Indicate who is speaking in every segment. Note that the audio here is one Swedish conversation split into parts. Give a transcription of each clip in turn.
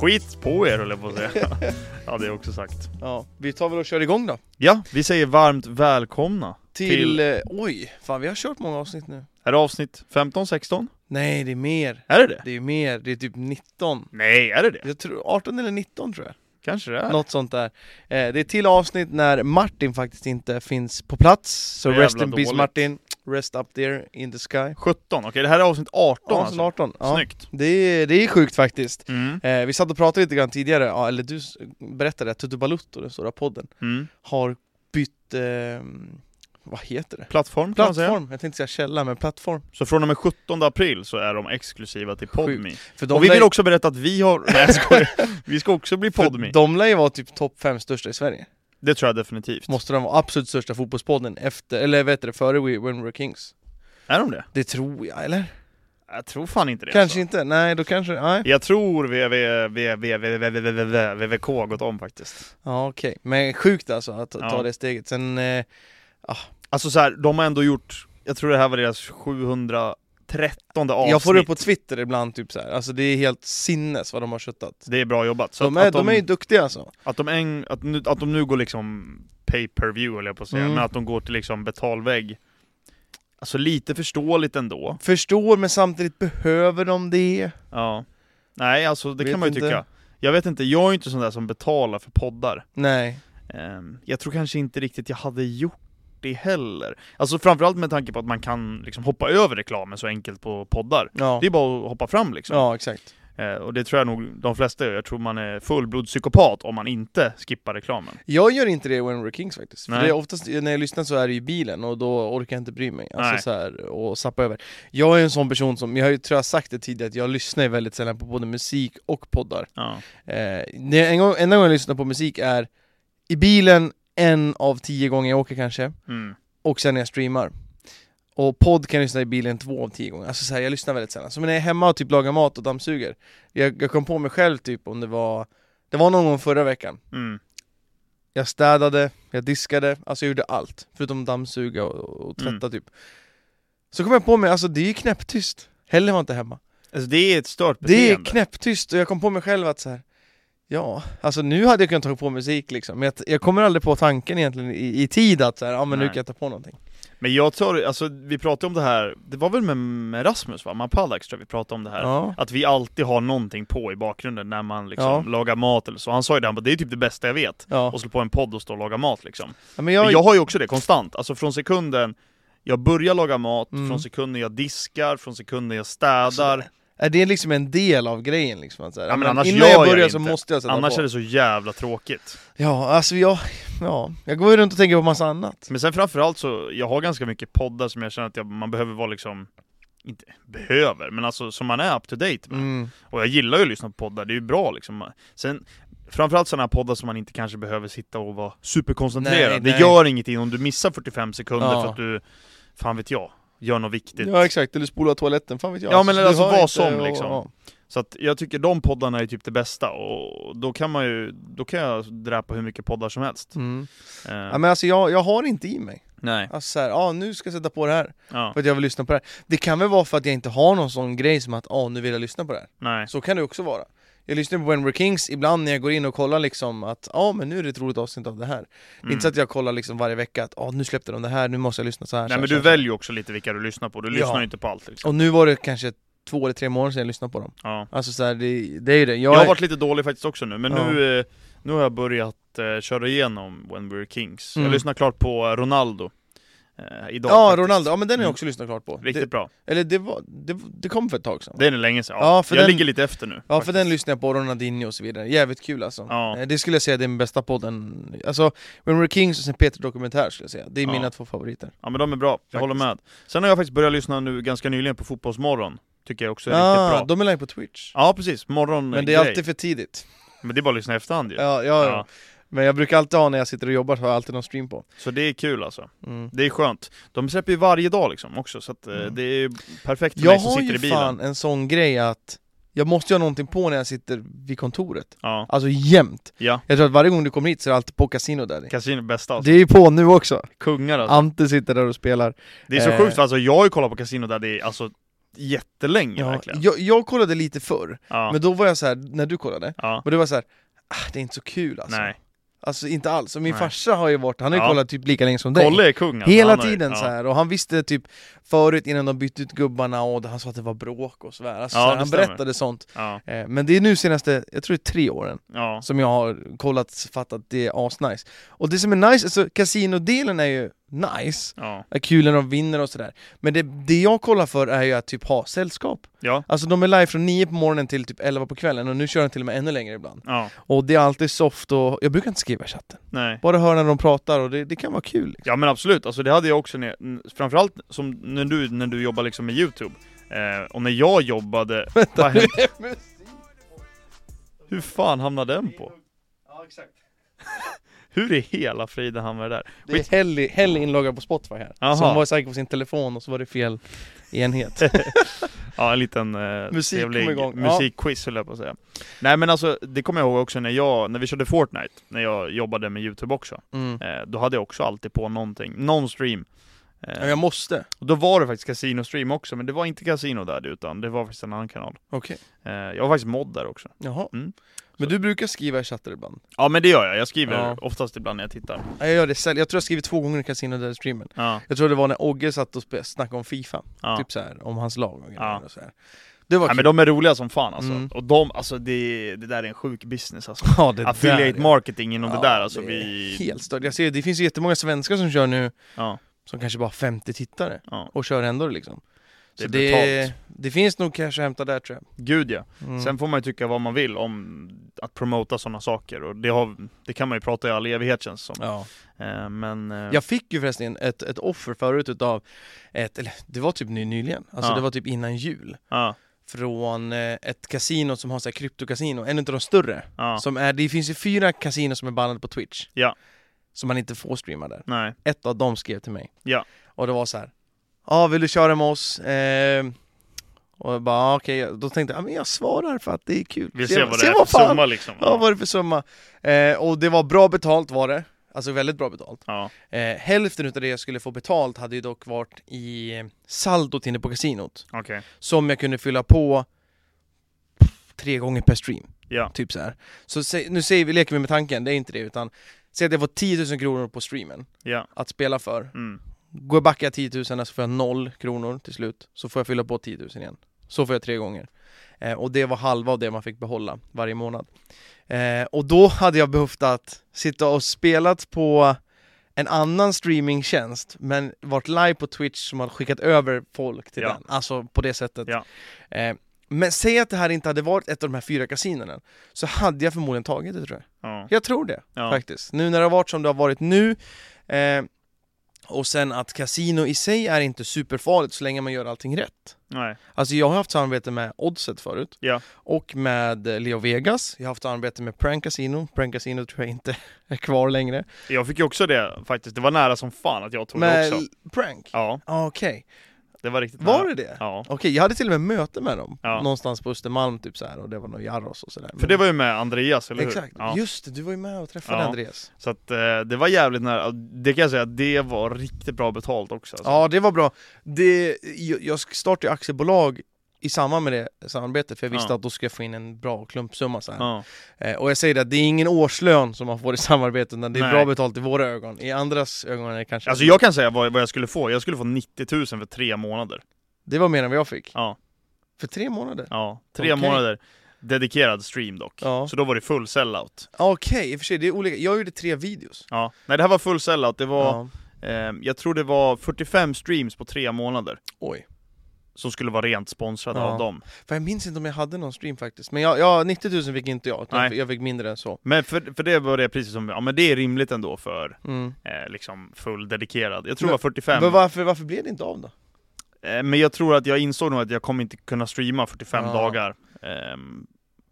Speaker 1: Skit på er höll jag på att säga. Ja, det är också sagt.
Speaker 2: Ja, vi tar väl och kör igång då.
Speaker 1: Ja, vi säger varmt välkomna.
Speaker 2: Till,
Speaker 1: Till-
Speaker 2: eh, oj, fan vi har kört många avsnitt nu.
Speaker 1: Är det avsnitt 15, 16?
Speaker 2: Nej, det är mer.
Speaker 1: Är det det?
Speaker 2: Det är mer, det är typ 19.
Speaker 1: Nej, är det det?
Speaker 2: Jag tror 18 eller 19 tror jag.
Speaker 1: Kanske det är.
Speaker 2: Något sånt där. Eh, det är till avsnitt när Martin faktiskt inte finns på plats. Så
Speaker 1: Jävla
Speaker 2: rest in peace
Speaker 1: dåligt.
Speaker 2: Martin. Rest up there in the sky.
Speaker 1: 17, okej det här är avsnitt 18
Speaker 2: 18,
Speaker 1: alltså.
Speaker 2: 18. Ja.
Speaker 1: Snyggt.
Speaker 2: Det är, det är sjukt faktiskt.
Speaker 1: Mm.
Speaker 2: Eh, vi satt och pratade lite grann tidigare, ja, eller du s- berättade att Tutu Balutto, den stora podden,
Speaker 1: Mm.
Speaker 2: har bytt, eh, vad heter det?
Speaker 1: Plattform kan man säga.
Speaker 2: Plattform, jag tänkte säga källa, men plattform.
Speaker 1: Så från och med 17 april så är de exklusiva till Podmi.
Speaker 2: För de
Speaker 1: Och vi
Speaker 2: lär-
Speaker 1: vill också berätta att vi har... Nej jag skojar. Vi ska också bli
Speaker 2: för
Speaker 1: Podmi.
Speaker 2: De lär ju vara typ topp fem största i Sverige.
Speaker 1: Det tror jag definitivt.
Speaker 2: Måste de vara absolut största fotbollspodden efter, eller vet du före We, When We're Kings?
Speaker 1: Är de det?
Speaker 2: Det tror jag, eller?
Speaker 1: Jag tror fan inte det.
Speaker 2: Kanske
Speaker 1: alltså.
Speaker 2: inte, nej då kanske, nej.
Speaker 1: Jag tror VV- VV- VV- VVK har gått om faktiskt.
Speaker 2: Ja okej, men sjukt alltså att ta
Speaker 1: Ja.
Speaker 2: det steget. Sen, eh,
Speaker 1: Alltså så här, de har ändå gjort, jag tror det här var deras 713 avsnitt.
Speaker 2: jag får det på Twitter ibland typ så här. alltså det är helt sinnes vad de har köttat.
Speaker 1: Det är bra jobbat. Så
Speaker 2: De
Speaker 1: att,
Speaker 2: är,
Speaker 1: att, de,
Speaker 2: de är ju duktiga alltså.
Speaker 1: att, de en, att, nu, att de nu går liksom pay per view höll jag på att säga,
Speaker 2: Mm.
Speaker 1: men att de går till liksom betalvägg. Alltså lite förståeligt ändå.
Speaker 2: Förstår men samtidigt behöver de det.
Speaker 1: Ja. Nej, alltså det
Speaker 2: Vet
Speaker 1: kan man ju
Speaker 2: inte.
Speaker 1: tycka. Jag vet inte, jag är ju inte sån där som betalar för poddar.
Speaker 2: Nej.
Speaker 1: Ehm, jag tror kanske inte riktigt jag hade gjort det heller. Alltså framförallt med tanke på att man kan liksom hoppa över reklamen så enkelt på poddar.
Speaker 2: Ja.
Speaker 1: Det är bara att hoppa fram liksom.
Speaker 2: Ja exakt.
Speaker 1: Eh, och det tror jag nog de flesta gör. Jag tror man är fullblodspsykopat om man inte skippar reklamen.
Speaker 2: Jag gör inte det i When We're Kings faktiskt. För
Speaker 1: Nej.
Speaker 2: det är oftast, när jag lyssnar så är det ju i bilen och då orkar jag inte bry mig. Alltså
Speaker 1: Nej.
Speaker 2: så här, och zappa över. Jag är en sån person som, jag har ju, tror jag har sagt det tidigare, att jag lyssnar ju väldigt sällan på både musik och poddar.
Speaker 1: Ja.
Speaker 2: Eh, det, en gång, enda gången jag lyssnar på musik är i bilen en av tio gånger jag åker kanske,
Speaker 1: Mm.
Speaker 2: och sen när jag streamar. Och podd kan jag lyssna i bilen två av tio gånger, alltså så här, jag lyssnar väldigt sällan. Så när jag är hemma och typ lagar mat och dammsuger, jag, jag kom på mig själv typ om det var, det var någon gång förra veckan,
Speaker 1: Mm.
Speaker 2: jag städade, jag diskade, alltså jag gjorde allt förutom dammsuga och, och
Speaker 1: Mm.
Speaker 2: tvätta typ Så kom jag på mig, alltså det är ju knäpptyst, Helen var inte hemma
Speaker 1: Alltså det är ett stört
Speaker 2: Det är
Speaker 1: beteende.
Speaker 2: knäpptyst och jag kom på mig själv att så här. Ja, alltså nu hade jag kunnat ta på musik liksom, men jag, jag kommer aldrig på tanken egentligen i, i tid att så här, ja men nu
Speaker 1: Nej.
Speaker 2: kan jag ta på någonting
Speaker 1: Men jag tror, alltså vi pratade om det här, det var väl med, med Rasmus va? Mapalax tror jag vi pratade om det här.
Speaker 2: Ja,
Speaker 1: Att vi alltid har någonting på i bakgrunden när man liksom
Speaker 2: Ja.
Speaker 1: lagar mat eller så. Han sa ju det, han bara, det är typ det bästa jag vet.
Speaker 2: ja.
Speaker 1: Och slå på en podd och stå och laga mat liksom.
Speaker 2: ja men
Speaker 1: Men
Speaker 2: jag,
Speaker 1: jag har ju också det konstant, alltså från sekunden jag börjar laga mat,
Speaker 2: Mm.
Speaker 1: från sekunden jag diskar, från sekunden jag städar.
Speaker 2: är det liksom en del av grejen liksom? Att så här,
Speaker 1: Ja, men
Speaker 2: men
Speaker 1: annars
Speaker 2: innan
Speaker 1: gör
Speaker 2: jag
Speaker 1: jag
Speaker 2: börjar
Speaker 1: det
Speaker 2: så
Speaker 1: inte.
Speaker 2: måste jag sätta
Speaker 1: Annars
Speaker 2: på
Speaker 1: är det så jävla tråkigt.
Speaker 2: Ja, alltså jag, ja, jag går ju runt och tänker på massa annat
Speaker 1: Men sen framförallt så, jag har ganska mycket poddar som jag känner att jag, man behöver vara liksom inte behöver, men alltså som man är up to date med.
Speaker 2: mm.
Speaker 1: Och jag gillar ju att lyssna på poddar, det är ju bra liksom. Sen, framförallt sådana här poddar som man inte kanske behöver sitta och vara superkoncentrerad.
Speaker 2: Nej,
Speaker 1: det
Speaker 2: nej.
Speaker 1: gör ingenting om du missar 45 sekunder
Speaker 2: Ja.
Speaker 1: för att du, fan vet jag, gör något viktigt.
Speaker 2: Ja exakt, eller spola toaletten, fan vet jag
Speaker 1: Ja, men
Speaker 2: du
Speaker 1: alltså
Speaker 2: hör
Speaker 1: vad
Speaker 2: inte
Speaker 1: som,
Speaker 2: och-
Speaker 1: liksom.
Speaker 2: ja.
Speaker 1: Så att jag tycker de poddarna är typ det bästa och då kan man ju, då kan jag dräpa hur mycket poddar som helst.
Speaker 2: Mm.
Speaker 1: Eh,
Speaker 2: Ja, men alltså jag, jag har inte i mig.
Speaker 1: nej.
Speaker 2: Alltså så här, ja nu ska jag sätta på det här
Speaker 1: Ja,
Speaker 2: för att jag vill lyssna på det här. Det kan väl vara för att jag inte har någon sån grej som att, ja nu vill jag lyssna på det här.
Speaker 1: nej.
Speaker 2: Så kan det också vara. Jag lyssnar på When We're Kings ibland när jag går in och kollar liksom att, ja men nu är det ett roligt avsnitt av det här. Det är
Speaker 1: Mm.
Speaker 2: inte så att jag kollar liksom varje vecka att, ja nu släppte de det här, nu måste jag lyssna så här. så
Speaker 1: Nej
Speaker 2: här,
Speaker 1: men
Speaker 2: så
Speaker 1: du
Speaker 2: här.
Speaker 1: väljer ju också lite vilka du lyssnar på, du lyssnar
Speaker 2: Ja.
Speaker 1: ju inte på allt liksom.
Speaker 2: Och nu var det kanske två eller tre månader sedan jag lyssnade på dem.
Speaker 1: Ja.
Speaker 2: Alltså så här, det, det är ju det.
Speaker 1: Jag,
Speaker 2: Jag,
Speaker 1: har
Speaker 2: är-
Speaker 1: varit lite dålig faktiskt också nu, men
Speaker 2: Ja.
Speaker 1: nu, eh, nu har jag börjat eh, köra igenom When We Were Kings.
Speaker 2: Mm.
Speaker 1: Jag lyssnar klart på eh, Ronaldo eh, idag
Speaker 2: Ja,
Speaker 1: faktiskt.
Speaker 2: Ronaldo, ja men den har jag
Speaker 1: Mm.
Speaker 2: också lyssnat klart på.
Speaker 1: Riktigt
Speaker 2: Det,
Speaker 1: bra.
Speaker 2: eller det, var, det, det kom för ett tag sedan.
Speaker 1: Det är länge sedan. Ja,
Speaker 2: Ja, för
Speaker 1: jag
Speaker 2: den-
Speaker 1: ligger lite efter nu.
Speaker 2: Ja för
Speaker 1: faktiskt.
Speaker 2: den lyssnar jag på, Ronaldinho och så vidare, jävligt kul alltså
Speaker 1: Ja.
Speaker 2: Eh, Det skulle jag säga, det är min bästa podden Alltså, When We're Kings och sen Peter Dokumentär skulle jag säga, det är
Speaker 1: Ja.
Speaker 2: mina två favoriter
Speaker 1: Ja men de är bra, jag
Speaker 2: Faktiskt.
Speaker 1: håller med. Sen har jag faktiskt börjat lyssna nu ganska nyligen på Fotbollsmorgon. Tycker jag också är riktigt
Speaker 2: ah,
Speaker 1: bra.
Speaker 2: De är live på Twitch
Speaker 1: Ja precis, morgon
Speaker 2: Men det är alltid för tidigt
Speaker 1: Men det är bara att lyssna i efterhand ju.
Speaker 2: ja, ja, ja.
Speaker 1: Ja.
Speaker 2: Men jag brukar alltid ha när jag sitter och jobbar, så har jag alltid någon stream på
Speaker 1: Så det är kul alltså.
Speaker 2: mm.
Speaker 1: Det är skönt. De släpper ju varje dag liksom också, så att, eh,
Speaker 2: Mm.
Speaker 1: det är ju perfekt för
Speaker 2: Jag
Speaker 1: mig som
Speaker 2: har
Speaker 1: sitter i
Speaker 2: ju
Speaker 1: bilen.
Speaker 2: fan en sån grej att jag måste ju ha någonting på när jag sitter vid kontoret
Speaker 1: Ja,
Speaker 2: Alltså jämt!
Speaker 1: ja.
Speaker 2: Jag tror att varje gång du kommer hit så är det alltid på Casino Daddy
Speaker 1: Casino är bäst alltså.
Speaker 2: Det är ju på nu också!
Speaker 1: Kungar alltså.
Speaker 2: Ante sitter där och spelar
Speaker 1: Det är så
Speaker 2: Eh.
Speaker 1: sjukt för alltså jag har ju kollat på Casino Daddy alltså jättelänge
Speaker 2: Ja,
Speaker 1: verkligen.
Speaker 2: jag, jag kollade lite förr,
Speaker 1: Ja,
Speaker 2: men då var jag så här, när du kollade,
Speaker 1: ja,
Speaker 2: men då var jag så här, ah, det är inte så kul alltså.
Speaker 1: nej.
Speaker 2: Alltså inte alls. Och min
Speaker 1: Nej.
Speaker 2: farsa har ju varit, han har ju
Speaker 1: Ja.
Speaker 2: kollat typ lika länge som dig.
Speaker 1: Kolle är kung alltså.
Speaker 2: Hela
Speaker 1: Han har ju-
Speaker 2: tiden
Speaker 1: ja.
Speaker 2: så här och han visste typ förut innan de bytte ut gubbarna och han sa att det var bråk och sådär. Alltså,
Speaker 1: Ja,
Speaker 2: så här,
Speaker 1: det
Speaker 2: han
Speaker 1: stämmer.
Speaker 2: berättade sånt.
Speaker 1: Ja,
Speaker 2: Eh, Men det är nu senaste, jag tror det är tre åren,
Speaker 1: ja,
Speaker 2: som jag har kollat fattat det är asnice. Och det som är nice, alltså kasinodelen är ju nice,
Speaker 1: ja,
Speaker 2: är kul när de vinner och sådär. Men det, det jag kollar för är ju att typ ha sällskap.
Speaker 1: ja,
Speaker 2: Alltså de är live från 9 på morgonen till typ 11 på kvällen och nu kör de till och med ännu längre ibland.
Speaker 1: ja,
Speaker 2: Och det är alltid soft och jag brukar inte skriva i chatten.
Speaker 1: nej.
Speaker 2: Bara höra när de pratar och det, det kan vara kul. liksom.
Speaker 1: Ja men absolut, alltså det hade jag också, när, n- framförallt som när du, när du jobbar liksom med Youtube. Eh, och när jag jobbade... Vad hände? Hur fan hamnade den på?
Speaker 2: Ja, exakt.
Speaker 1: Hur i hela friden hamnade det där?
Speaker 2: Det är Helly, Helly inloggad på Spotify här.
Speaker 1: Aha.
Speaker 2: Som var säker på sin telefon och så var det fel enhet.
Speaker 1: Ja, en liten eh,
Speaker 2: Musik
Speaker 1: trevlig
Speaker 2: kom igång. Ja.
Speaker 1: musikquiz höll jag på att säga. Nej men alltså, det kommer jag ihåg också när jag, när vi körde Fortnite, när jag jobbade med Youtube också.
Speaker 2: Mm.
Speaker 1: Eh, då hade jag också alltid på någonting, någon stream.
Speaker 2: Ja,
Speaker 1: Eh,
Speaker 2: jag måste.
Speaker 1: och då var det faktiskt Casino-stream också, men det var inte Casino där utan det var faktiskt en annan kanal.
Speaker 2: Okej.
Speaker 1: Eh, jag var faktiskt mod där också.
Speaker 2: Jaha.
Speaker 1: Mm.
Speaker 2: Men du brukar skriva i chatten ibland?
Speaker 1: Ja men det gör jag, jag skriver
Speaker 2: Ja.
Speaker 1: oftast ibland när jag tittar.
Speaker 2: Ja, jag gör det sällan. Jag tror jag skrivit två gånger i Casino där streamen.
Speaker 1: Ja,
Speaker 2: Jag tror det var när Ogge satt och spe- snackade om Fifa.
Speaker 1: ja.
Speaker 2: Typ så här, om hans lag och grejer
Speaker 1: Ja.
Speaker 2: och så här. Det var
Speaker 1: Nej, men
Speaker 2: kul.
Speaker 1: de är roliga som fan alltså.
Speaker 2: Mm.
Speaker 1: Och de, alltså det, det där är en sjuk business alltså.
Speaker 2: Ja, det där,
Speaker 1: Affiliate
Speaker 2: ja.
Speaker 1: marketing inom
Speaker 2: Ja,
Speaker 1: det där alltså.
Speaker 2: är
Speaker 1: vi...
Speaker 2: Helt stört. Jag ser, det finns ju jättemånga svenskar som kör nu,
Speaker 1: Ja,
Speaker 2: som kanske bara har 50 tittare.
Speaker 1: ja.
Speaker 2: Och kör ändå liksom.
Speaker 1: Det
Speaker 2: Så
Speaker 1: är
Speaker 2: det,
Speaker 1: brutalt.
Speaker 2: det finns nog cash att hämta där tror jag.
Speaker 1: Gud ja.
Speaker 2: Mm.
Speaker 1: Sen får man ju tycka vad man vill om att promota sådana saker. Och det, har, det kan man ju prata i all evighet känns det som.
Speaker 2: ja.
Speaker 1: Eh, men... eh,
Speaker 2: Jag fick ju förresten ett, ett offer förut utav ett, eller det var typ ny, nyligen, alltså
Speaker 1: Ja.
Speaker 2: det var typ innan jul
Speaker 1: ja,
Speaker 2: Från eh, ett kasino som har så här kryptokasino, en av de större
Speaker 1: ja,
Speaker 2: som är, Det finns ju fyra kasinon som är bannade på Twitch
Speaker 1: Ja.
Speaker 2: Som man inte får streama där
Speaker 1: nej.
Speaker 2: Ett av dem skrev till mig
Speaker 1: Ja.
Speaker 2: Och det var så här. Ja, vill du köra med oss? Eh, och jag bara, "Ah, okej, då tänkte jag, "Ja, men jag svarar för att det är kul
Speaker 1: Vi
Speaker 2: Se-
Speaker 1: ser vad
Speaker 2: se
Speaker 1: det är för
Speaker 2: fan-
Speaker 1: summa liksom.
Speaker 2: Ja, vad är det för summa? Eh, och det var bra betalt var det Alltså väldigt bra betalt
Speaker 1: Ja,
Speaker 2: Eh, hälften av det jag skulle få betalt hade ju dock varit i eh, saldot inne på kasinot
Speaker 1: okej.
Speaker 2: som jag kunde fylla på tre gånger per stream.
Speaker 1: Ja.
Speaker 2: Typ så här. Så sä- nu säger vi, leker vi med tanken, det är inte det utan säg att jag får 10 000 kronor på streamen
Speaker 1: Ja.
Speaker 2: att spela för.
Speaker 1: Mm.
Speaker 2: Går jag backa 10 000 så får jag 0 kronor till slut, så får jag fylla på 10 000 igen. Så får jag tre gånger. Eh, och det var halva av det man fick behålla varje månad. Eh, och då hade jag behövt att sitta och spelat på en annan streamingtjänst men varit live på Twitch som har skickat över folk till
Speaker 1: Ja.
Speaker 2: den, alltså på det sättet.
Speaker 1: Ja.
Speaker 2: Eh, men säg att det här inte hade varit ett av de här fyra kasinerna, så hade jag förmodligen tagit det tror jag.
Speaker 1: Ja.
Speaker 2: Jag tror det
Speaker 1: Ja.
Speaker 2: faktiskt. Nu när det har varit som det har varit nu, eh, och sen att kasino i sig är inte superfarligt så länge man gör allting rätt.
Speaker 1: Nej.
Speaker 2: Alltså jag har haft samarbete med Oddset förut,
Speaker 1: Ja.
Speaker 2: och med eh, Leo Vegas, jag har haft samarbete med Prank Casino, Prank Casino tror jag inte är kvar längre.
Speaker 1: Jag fick ju också det faktiskt. Det var nära som fan att jag tog det
Speaker 2: Med
Speaker 1: också.
Speaker 2: Prank?
Speaker 1: Ja,
Speaker 2: Ja. Okej,
Speaker 1: det var riktigt
Speaker 2: var
Speaker 1: nära.
Speaker 2: det det?
Speaker 1: Ja.
Speaker 2: Okej, jag hade till och med möte med dem
Speaker 1: Ja.
Speaker 2: någonstans på Östermalm typ så här och det var nog Jarros och sådär.
Speaker 1: För det var ju med Andreas, eller hur?
Speaker 2: Exakt,
Speaker 1: Ja.
Speaker 2: just det, du var ju med och träffade
Speaker 1: Ja.
Speaker 2: Andreas.
Speaker 1: Så att eh, det var jävligt nära. Det kan jag säga, det var riktigt bra betalt också. Alltså.
Speaker 2: Ja, det var bra. Det, jag, jag startade ju aktiebolag i samband med det samarbetet för jag visste
Speaker 1: Ja.
Speaker 2: att då ska jag få in en bra klumpsumma så här.
Speaker 1: Ja.
Speaker 2: Eh, och jag säger det, att det är ingen årslön som man får i samarbetet utan det är
Speaker 1: Nej.
Speaker 2: bra betalt i våra ögon. I andras ögon är det kanske...
Speaker 1: Alltså jag kan säga vad, vad jag skulle få. Jag skulle få 90 000 för tre månader.
Speaker 2: Det var mer än vad jag fick.
Speaker 1: Ja.
Speaker 2: För tre månader?
Speaker 1: Ja, tre
Speaker 2: Okej.
Speaker 1: månader dedikerad stream dock.
Speaker 2: Ja.
Speaker 1: Så då var det full sellout.
Speaker 2: Ja, Okej, i och för sig, det är olika. Jag gjorde tre videos.
Speaker 1: Ja. Nej det här var full sellout, det var,
Speaker 2: Ja.
Speaker 1: ehm, jag tror det var 45 streams på tre månader
Speaker 2: Oj.
Speaker 1: som skulle vara rent sponsrade
Speaker 2: Ja.
Speaker 1: av dem.
Speaker 2: För jag minns inte om jag hade någon stream faktiskt. Men jag, ja, 90 000 fick inte jag, utan
Speaker 1: Nej.
Speaker 2: jag fick- jag fick mindre än så.
Speaker 1: Men för, för det var det priset som, ja men det är rimligt ändå för
Speaker 2: Mm.
Speaker 1: eh, liksom full dedikerad. Jag tror
Speaker 2: Men-
Speaker 1: det var 45,
Speaker 2: Men varför, varför blev det inte av då?
Speaker 1: eh, men jag tror att jag insåg nog att jag kommer inte kunna streama 45
Speaker 2: Ja.
Speaker 1: dagar. Ehm,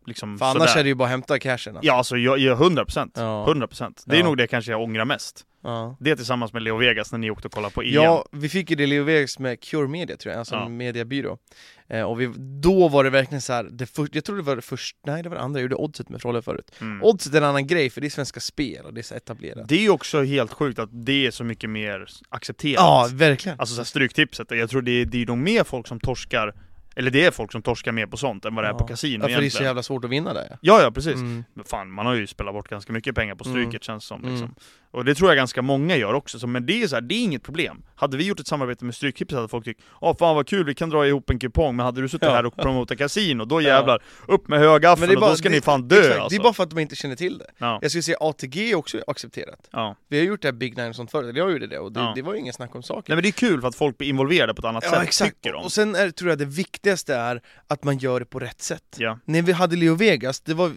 Speaker 1: liksom
Speaker 2: För annars
Speaker 1: sådär.
Speaker 2: är det ju bara att hämta cashen. alltså.
Speaker 1: Ja alltså jag, jag 100%,
Speaker 2: Ja.
Speaker 1: 100%. Det är
Speaker 2: Ja.
Speaker 1: nog det kanske jag ångrar mest.
Speaker 2: ja.
Speaker 1: Det tillsammans med Leo Vegas när ni åkte och kollade på E EM.
Speaker 2: Ja, vi fick ju det Leo Vegas med Cure Media tror jag, alltså
Speaker 1: Ja.
Speaker 2: en mediebyrå. Eh, och vi, då var det verkligen så här, det för, jag tror det var det första, nej det var det andra jag gjorde oddset med Trolle förut.
Speaker 1: Mm.
Speaker 2: Oddset är en annan grej för det är svenska spel och det är så etablerat.
Speaker 1: Det är ju också helt sjukt att det är så mycket mer accepterat.
Speaker 2: Ja, verkligen.
Speaker 1: Alltså så här, stryktipset, jag tror det är, det är nog mer folk som torskar Eller det är folk som torskar mer på sånt än vad det är
Speaker 2: Ja.
Speaker 1: på kasino
Speaker 2: Ja, för det är så
Speaker 1: egentligen.
Speaker 2: jävla svårt att vinna där ja.
Speaker 1: Ja, ja precis.
Speaker 2: Mm.
Speaker 1: Men fan, man har ju spelat bort ganska mycket pengar på stryket
Speaker 2: Mm.
Speaker 1: känns som.
Speaker 2: Mm.
Speaker 1: Liksom. Och det tror jag ganska många gör också, så, men det är, så här, det är inget problem. Hade vi gjort ett samarbete med Stryktipset hade folk tyckt Åh fan vad kul, vi kan dra ihop en kupong, men hade du suttit
Speaker 2: Ja.
Speaker 1: här och promotat kasino, då
Speaker 2: Ja.
Speaker 1: jävlar, upp med högaffeln
Speaker 2: Men det är
Speaker 1: och
Speaker 2: bara-
Speaker 1: då ska
Speaker 2: det-
Speaker 1: ni fan dö
Speaker 2: Exakt,
Speaker 1: alltså.
Speaker 2: det är bara för att de inte känner till det.
Speaker 1: Ja.
Speaker 2: Jag skulle säga ATG är också accepterat.
Speaker 1: Ja.
Speaker 2: Vi har gjort det här Big Nine och sånt förut, eller jag gjorde det och det,
Speaker 1: Ja.
Speaker 2: det var ju ingen snack om saken.
Speaker 1: Nej men det är kul för att folk blir involverade på ett annat sätt, tycker de.
Speaker 2: Och sen är, tror jag det viktigaste är att man gör det på rätt sätt.
Speaker 1: Ja,
Speaker 2: När vi hade Leo Vegas, det var...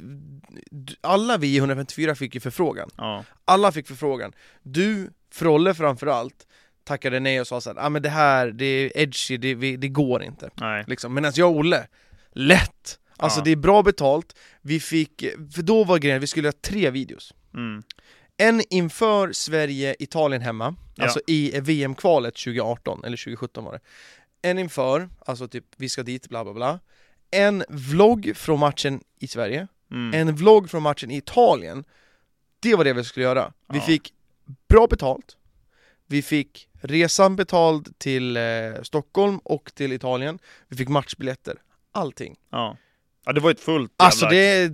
Speaker 2: Alla vi i 154 fick ju förfrågan.
Speaker 1: ja,
Speaker 2: Alla fick förfrågan. Du, Frolle framförallt, tackade nej och sa såhär, ah, men det här, det är edgy, det, vi, det går inte.
Speaker 1: nej.
Speaker 2: Liksom. Medan jag och Olle, lätt! Alltså
Speaker 1: Ja.
Speaker 2: det är bra betalt, vi fick, för då var grejen, vi skulle göra tre videos.
Speaker 1: Mm.
Speaker 2: En inför Sverige-Italien hemma,
Speaker 1: Ja.
Speaker 2: alltså i VM-kvalet 2018, eller 2017 var det. En inför, alltså typ vi ska dit, bla bla bla. En vlogg från matchen i Sverige,
Speaker 1: Mm.
Speaker 2: en vlogg från matchen i Italien. Det var det vi skulle göra. Vi
Speaker 1: Ja.
Speaker 2: fick bra betalt, vi fick resan betald till eh, Stockholm och till Italien, vi fick matchbiljetter, allting.
Speaker 1: Ja. ja, det var ett fullt jävla...
Speaker 2: Alltså det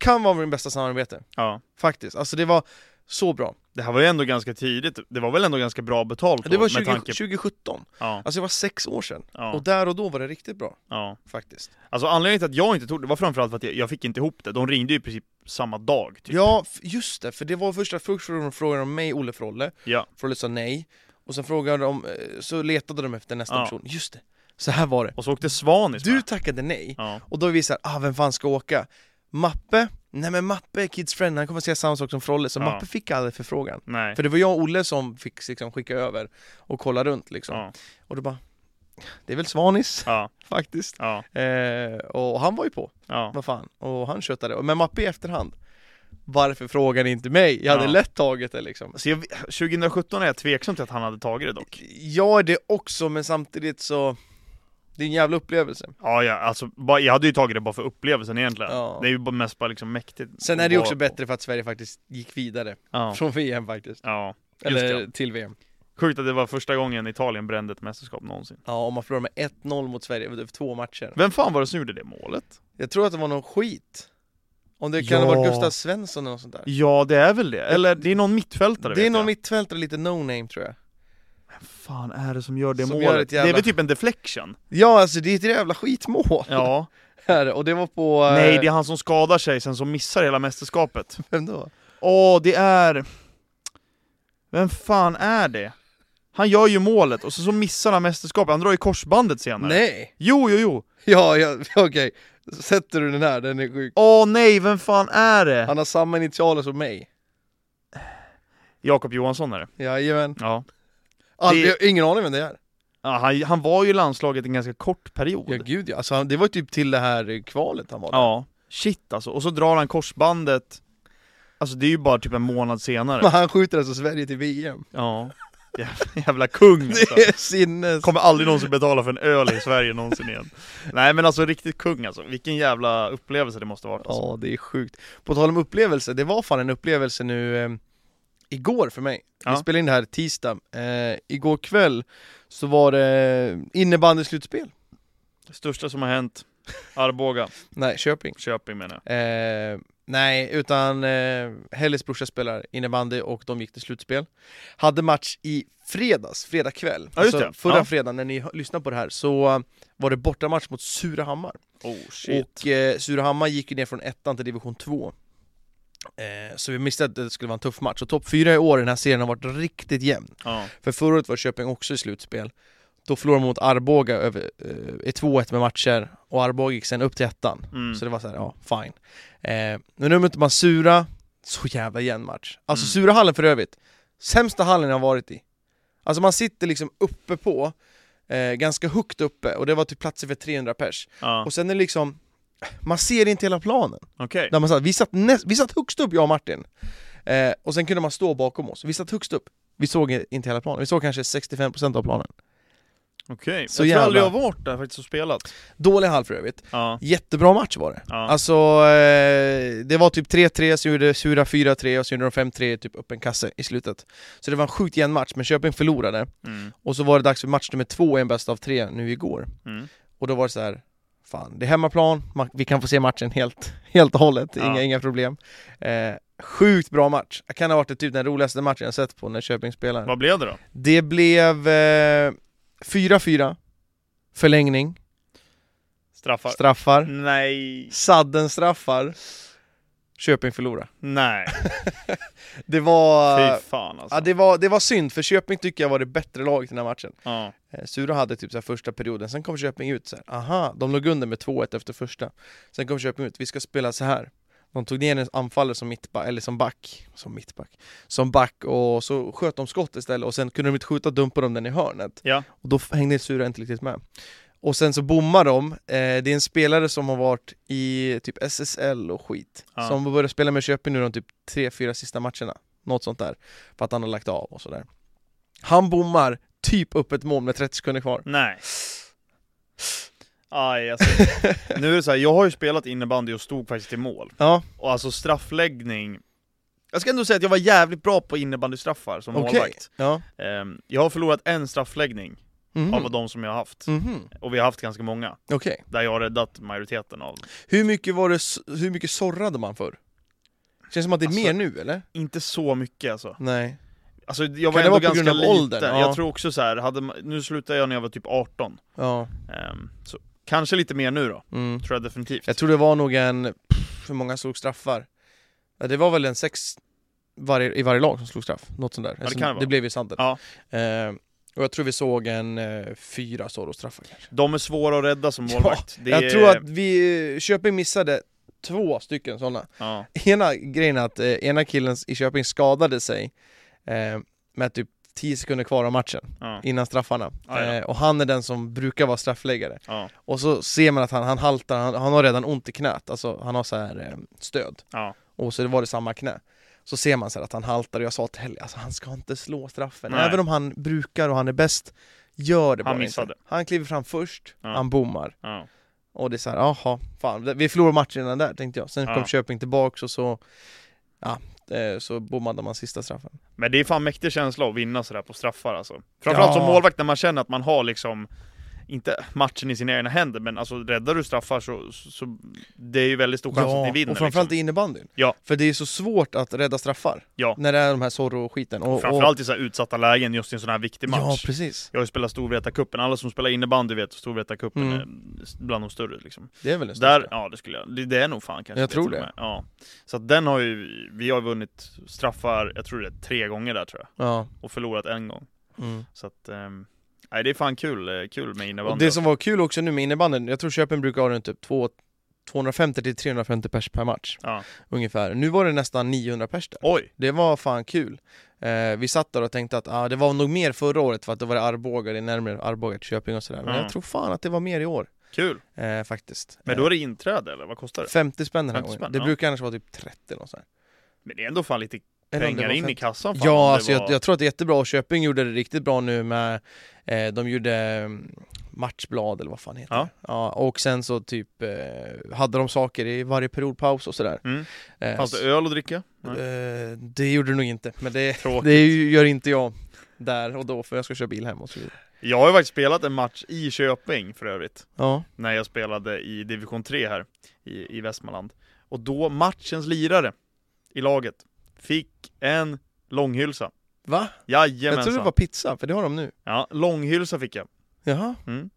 Speaker 2: kan vara min bästa samarbete,
Speaker 1: ja.
Speaker 2: faktiskt. Alltså det var så bra.
Speaker 1: det här var ju ändå ganska tidigt, det var väl ändå ganska bra betalt då,
Speaker 2: Det var
Speaker 1: med
Speaker 2: 20,
Speaker 1: tanke på...
Speaker 2: 2017,
Speaker 1: Ja,
Speaker 2: alltså det var sex år sedan.
Speaker 1: ja,
Speaker 2: Och där och då var det riktigt bra,
Speaker 1: ja.
Speaker 2: faktiskt.
Speaker 1: Alltså anledningen till att jag inte tog det var framförallt för att jag, jag fick inte ihop det, de ringde ju i princip samma dag typ.
Speaker 2: Ja, f- just det, för det var första först frågade de frågade om mig, Olle Frolle.
Speaker 1: Ja.
Speaker 2: Frolle sa nej. Och sen frågade de, eh, så letade de efter nästa
Speaker 1: Ja.
Speaker 2: person. Just det, så här var det.
Speaker 1: Och så åkte Svanis
Speaker 2: Du
Speaker 1: med.
Speaker 2: tackade nej,
Speaker 1: Ja,
Speaker 2: och då är vi såhär, ah vem fan ska åka? Mappe? Nej men Mappe är kids friend, han kommer säga samma sak som Frolle, så
Speaker 1: Ja.
Speaker 2: Mappe fick aldrig förfrågan.
Speaker 1: nej.
Speaker 2: För det var jag och Olle som fick liksom, skicka över och kolla runt liksom.
Speaker 1: Ja,
Speaker 2: Och då bara, det är väl Svanis
Speaker 1: ja,
Speaker 2: faktiskt.
Speaker 1: ja,
Speaker 2: Eh, och han var ju på,
Speaker 1: ja.
Speaker 2: vad fan, och han köttade. Men Mappe i efterhand, varför frågar ni inte mig? Jag hade
Speaker 1: Ja.
Speaker 2: lätt tagit det liksom.
Speaker 1: Så jag, 2017 är jag tveksam till att han hade tagit det dock.
Speaker 2: Jag är det också, men samtidigt så, det är en jävla upplevelse.
Speaker 1: Ja, ja alltså, bara, jag hade ju tagit det bara för upplevelsen egentligen.
Speaker 2: Ja.
Speaker 1: Det är ju bara mest bara liksom mäktigt.
Speaker 2: Sen
Speaker 1: att
Speaker 2: är det ju
Speaker 1: vara
Speaker 2: också
Speaker 1: på.
Speaker 2: bättre för att Sverige faktiskt gick vidare
Speaker 1: Ja,
Speaker 2: från VM faktiskt.
Speaker 1: ja. Just
Speaker 2: Eller
Speaker 1: det.
Speaker 2: till VM.
Speaker 1: Sjukt att det var första gången Italien brände ett mästerskap någonsin.
Speaker 2: Ja, om man förlorar med 1-0 mot Sverige över två matcher.
Speaker 1: Vem fan var det som gjorde det målet?
Speaker 2: Jag tror att det var någon skit. Om det kan ha
Speaker 1: Ja.
Speaker 2: varit Gustav Svensson eller något sånt där.
Speaker 1: Ja, det är väl det. Eller det är någon mittfältare
Speaker 2: Det är
Speaker 1: vet
Speaker 2: någon
Speaker 1: jag.
Speaker 2: mittfältare, lite no-name tror jag.
Speaker 1: Vem fan är det som gör det
Speaker 2: Som
Speaker 1: målet?
Speaker 2: gör ett jävla-
Speaker 1: Det är väl typ en deflection?
Speaker 2: Ja, alltså det är ett jävla skitmål.
Speaker 1: Ja.
Speaker 2: Här, och det var på... eh,
Speaker 1: Nej, det är han som skadar sig sen som missar hela mästerskapet.
Speaker 2: Vem då?
Speaker 1: Åh, det är... Vem fan är det? Han gör ju målet och så, så missar han mästerskapet, han drar ju korsbandet senare.
Speaker 2: Nej!
Speaker 1: Jo, jo, jo!
Speaker 2: Ja, ja okej. Sätter du den här, den är sjuk.
Speaker 1: Åh nej, vem fan är det?
Speaker 2: Han har samma initialer som mig.
Speaker 1: Jakob Johansson är det.
Speaker 2: Jajamän.
Speaker 1: Ja.
Speaker 2: Aldrig, jag har ingen aning vem det är.
Speaker 1: ja han, han var ju i landslaget en ganska kort period.
Speaker 2: Ja gud ja, alltså, han, det var typ till det här kvalet han var där.
Speaker 1: Ja. Shit alltså, och så drar han korsbandet. Alltså det är ju bara typ en månad senare.
Speaker 2: Men han skjuter alltså Sverige till VM.
Speaker 1: Ja. Jävla, jävla kung alltså.
Speaker 2: Det är sinnes...
Speaker 1: Kommer aldrig någonsin betala för en öl i Sverige någonsin igen. Nej men alltså riktigt kung alltså, vilken jävla upplevelse det måste ha varit. Alltså.
Speaker 2: Ja, det är sjukt. På tal om upplevelse, det var fan en upplevelse nu eh, igår för mig.
Speaker 1: Ja.
Speaker 2: Vi spelade in det här tisdag. Eh, igår kväll så var det eh, innebandyslutspel.
Speaker 1: Det största som har hänt Arboga,
Speaker 2: Nej, Köping.
Speaker 1: Köping menar jag.
Speaker 2: Eh, nej, utan eh, Helles brorsa spelar innebandy och de gick till slutspel. Hade match i fredags, fredag kväll. Alltså,
Speaker 1: Ja, just det.
Speaker 2: förra
Speaker 1: Ja.
Speaker 2: fredagen när ni hö- lyssnade på det här så eh, var det bortamatch mot Surahammar.
Speaker 1: Oh shit.
Speaker 2: Och eh, Surahammar gick ju ner från ettan till division 2 eh, Så vi misstänkte att det skulle vara en tuff match, och topp 4 i år i den här serien har varit riktigt jämn
Speaker 1: ja.
Speaker 2: För förra året var Köping också i slutspel Då förlorade de mot Arboga över, eh, i 2-1 med matcher Och Arboga gick sen upp till ettan
Speaker 1: Mm.
Speaker 2: Så det var så här, ja, fine eh, Men nu möter man Sura, så jävla jämn match Alltså
Speaker 1: Mm.
Speaker 2: Surahallen för övrigt, sämsta hallen jag har varit i Alltså man sitter liksom uppe på eh, Ganska högt uppe, och det var typ platser för 300 pers
Speaker 1: ja.
Speaker 2: och sen är det liksom, man ser inte hela planen.
Speaker 1: Okej.
Speaker 2: Där man satt, vi, satt näst, vi satt högst upp jag och Martin, eh, och sen kunde man stå bakom oss. Vi satt högst upp, vi såg inte hela planen, vi såg kanske 65% av planen.
Speaker 1: Okej. Jag
Speaker 2: Så
Speaker 1: tror
Speaker 2: jävla-
Speaker 1: aldrig jag har varit där faktiskt och spelat.
Speaker 2: Dålig hall för övrigt,
Speaker 1: Ja.
Speaker 2: jättebra match var det.
Speaker 1: Ja.
Speaker 2: Alltså, eh, det var typ 3-3, så gjorde Sura 4-3 och så gjorde de 5-3 typ upp en kasse i slutet. Så det var en sjukt jämn match, men Köping förlorade.
Speaker 1: Mm.
Speaker 2: Och så var det dags för match nummer två i en bäst av tre nu igår.
Speaker 1: Mm.
Speaker 2: Och då var det så här, fan det är hemmaplan, man, vi kan få se matchen helt, helt och hållet,
Speaker 1: Ja.
Speaker 2: inga, inga problem. Eh, sjukt bra match, det kan ha varit typ den roligaste matchen jag sett på när Köping spelar.
Speaker 1: Vad blev det då?
Speaker 2: Det blev eh, 4-4, förlängning,
Speaker 1: Straffar? Mm.
Speaker 2: straffar,
Speaker 1: Nej.
Speaker 2: sadden straffar, Köping förlora.
Speaker 1: Nej.
Speaker 2: Det var...
Speaker 1: Fy fan alltså.
Speaker 2: Ja, det var, det var synd, för Köping tycker jag var det bättre laget i den här matchen.
Speaker 1: Ja.
Speaker 2: Eh, Sura hade typ så här första perioden, sen kom Köping ut så här. aha, de låg under med 2-1 efter första. Sen kom Köping ut, vi ska spela så här. De tog ner en anfallare som mittback, eller som back, som mittback, som back och så sköt de skott istället och sen kunde de inte skjuta, dumpade de den i hörnet.
Speaker 1: Ja.
Speaker 2: Och då f- hängde Sura inte riktigt med. Och sen så bommar de, eh, det är en spelare som har varit i typ SSL och skit,
Speaker 1: Ja.
Speaker 2: som började spela med Köping nu de typ 3-4 sista matcherna, något sånt där, för att han har lagt av och sådär. Han bommar typ upp ett mål med 30 sekunder kvar.
Speaker 1: Nej. Aj, alltså. Nu är det så här, jag har ju spelat innebandy och stod faktiskt i mål.
Speaker 2: Ja,
Speaker 1: Och alltså straffläggning. Jag ska ändå säga att jag var jävligt bra på innebandystraffar som
Speaker 2: okej.
Speaker 1: målvakt.
Speaker 2: Ja.
Speaker 1: Ehm, Jag har förlorat en straffläggning
Speaker 2: Mhm.
Speaker 1: av de som jag har haft.
Speaker 2: Mhm.
Speaker 1: Och vi har haft ganska många.
Speaker 2: Okej.
Speaker 1: Där jag har räddat majoriteten av.
Speaker 2: Hur mycket var det, s- hur mycket sorrade man för? Känns som att det är
Speaker 1: Alltså-
Speaker 2: mer nu eller?
Speaker 1: Inte så mycket alltså.
Speaker 2: Nej.
Speaker 1: Alltså jag
Speaker 2: Kan
Speaker 1: var
Speaker 2: det
Speaker 1: ändå
Speaker 2: vara på
Speaker 1: ganska
Speaker 2: grund av
Speaker 1: liten,
Speaker 2: åldern? Ja.
Speaker 1: jag tror också så här, hade, ma- nu slutade jag när jag var typ 18
Speaker 2: Ja.
Speaker 1: Ehm, så, Kanske lite mer nu då,
Speaker 2: Mm.
Speaker 1: tror jag definitivt
Speaker 2: Jag tror det var nog en, pff, hur många slog straffar? Ja, det var väl en sex varje, i varje lag som slog straff, något sånt där.
Speaker 1: det
Speaker 2: Eftersom
Speaker 1: kan det vara.
Speaker 2: blev ju sadden.
Speaker 1: Ja.
Speaker 2: Eh, och jag tror vi såg en eh, fyra Soros-straffar kanske.
Speaker 1: De är svåra att rädda som
Speaker 2: Ja,
Speaker 1: målvakt Det är-
Speaker 2: Jag tror att vi, eh, Köping missade två stycken sådana.
Speaker 1: ja.
Speaker 2: Ena grejen är att eh, ena killen i Köping skadade sig eh, med typ 10 sekunder kvar av matchen
Speaker 1: Ja,
Speaker 2: innan straffarna.
Speaker 1: Ah, Ja, ja.
Speaker 2: Eh, och han är den som brukar vara straffläggare.
Speaker 1: ja,
Speaker 2: Och så ser man att han, han haltar, han, han har redan ont i knät, alltså han har så här eh, stöd.
Speaker 1: ja,
Speaker 2: Och så var det samma knä. Så ser man så här att han haltar och jag sa till Helge, alltså han ska inte slå straffen.
Speaker 1: Nej.
Speaker 2: Även om han brukar och han är bäst, gör det
Speaker 1: Han
Speaker 2: bara
Speaker 1: missade.
Speaker 2: Inte. Han kliver fram först,
Speaker 1: Ja.
Speaker 2: han bommar.
Speaker 1: ja.
Speaker 2: Och det är så här, jaha, fan, vi förlorade matchen innan där tänkte jag. Sen
Speaker 1: Ja.
Speaker 2: kom Köping tillbaks och så, ja, eh, så bommade man sista straffen.
Speaker 1: Men det är fan mäktig känsla att vinna sådär på straffar alltså Framförallt som
Speaker 2: Ja.
Speaker 1: målvakt när man känner att man har liksom Inte matchen i sina egna händer, men alltså räddar du straffar så, så, så Det är ju väldigt stor chans att ni vinner
Speaker 2: och framförallt
Speaker 1: liksom.
Speaker 2: i innebandyn.
Speaker 1: Ja.
Speaker 2: För det är så svårt att rädda straffar.
Speaker 1: Ja.
Speaker 2: När det är de här Zorro-skiten. Och, och,
Speaker 1: Framförallt i så här utsatta lägen just i en sån här viktig match
Speaker 2: Ja, precis.
Speaker 1: Jag har ju spelat Storvreta-cupen, alla som spelar innebandy vet att Storvreta-cupen
Speaker 2: Mm.
Speaker 1: är s- bland de större liksom.
Speaker 2: Det är väl den största?
Speaker 1: Där, ja det skulle jag, det, det är nog fan kanske
Speaker 2: Jag tror
Speaker 1: till och
Speaker 2: det.
Speaker 1: med. Ja. Så att den har ju, vi har vunnit straffar, jag tror det är tre gånger där tror jag,
Speaker 2: Ja. Mm.
Speaker 1: och förlorat en gång. Så att, ehm, nej det är fan kul, eh, kul med
Speaker 2: Och
Speaker 1: innebandy.
Speaker 2: det som var kul också nu med innebandyn, jag tror Köping brukar ha runt typ två- 250 till 350 pers per match
Speaker 1: Ja.
Speaker 2: ungefär. Nu var det nästan 900 pers där.
Speaker 1: Oj!
Speaker 2: Det var fan kul. Eh, vi satt där och tänkte att ah, det var nog mer förra året för att det var det Arboga, det är närmare Arboga till Köping och sådär. Men
Speaker 1: Mm.
Speaker 2: jag tror fan att det var mer i år
Speaker 1: Kul!
Speaker 2: eh, faktiskt.
Speaker 1: Men då är det inträde eller vad kostar
Speaker 2: eh,
Speaker 1: det?
Speaker 2: 50 spänn den här
Speaker 1: 50
Speaker 2: gången.
Speaker 1: spänn,
Speaker 2: det
Speaker 1: ja.
Speaker 2: brukar annars vara typ 30 eller nåt sånt där.
Speaker 1: Men det är ändå fan lite
Speaker 2: Eller om det
Speaker 1: pengar
Speaker 2: var
Speaker 1: in i
Speaker 2: 50.
Speaker 1: kassan fan, om
Speaker 2: Ja,
Speaker 1: det
Speaker 2: alltså
Speaker 1: var-
Speaker 2: jag, jag tror att det är jättebra och Köping gjorde det riktigt bra nu med eh, De gjorde mm, matchblad eller vad fan heter
Speaker 1: Ja.
Speaker 2: det? Ja, och sen så typ eh, hade de saker i varje periodpaus och sådär
Speaker 1: Mm.
Speaker 2: eh,
Speaker 1: Fanns
Speaker 2: s-
Speaker 1: det öl att dricka? Nej.
Speaker 2: eh, det gjorde det nog inte, men det,
Speaker 1: Tråkigt.
Speaker 2: det gör inte jag där och då för jag ska köra bil hem och så vidare
Speaker 1: Jag har ju faktiskt spelat en match i Köping för övrigt.
Speaker 2: Ja,
Speaker 1: när jag spelade i division 3 här i, i Västmanland. Och då matchens lirare i laget fick en långhylsa.
Speaker 2: va? jag
Speaker 1: Jajamensan!
Speaker 2: trodde det var pizza, för det har de nu
Speaker 1: Ja, långhylsa fick jag.
Speaker 2: Jaha,
Speaker 1: Mm.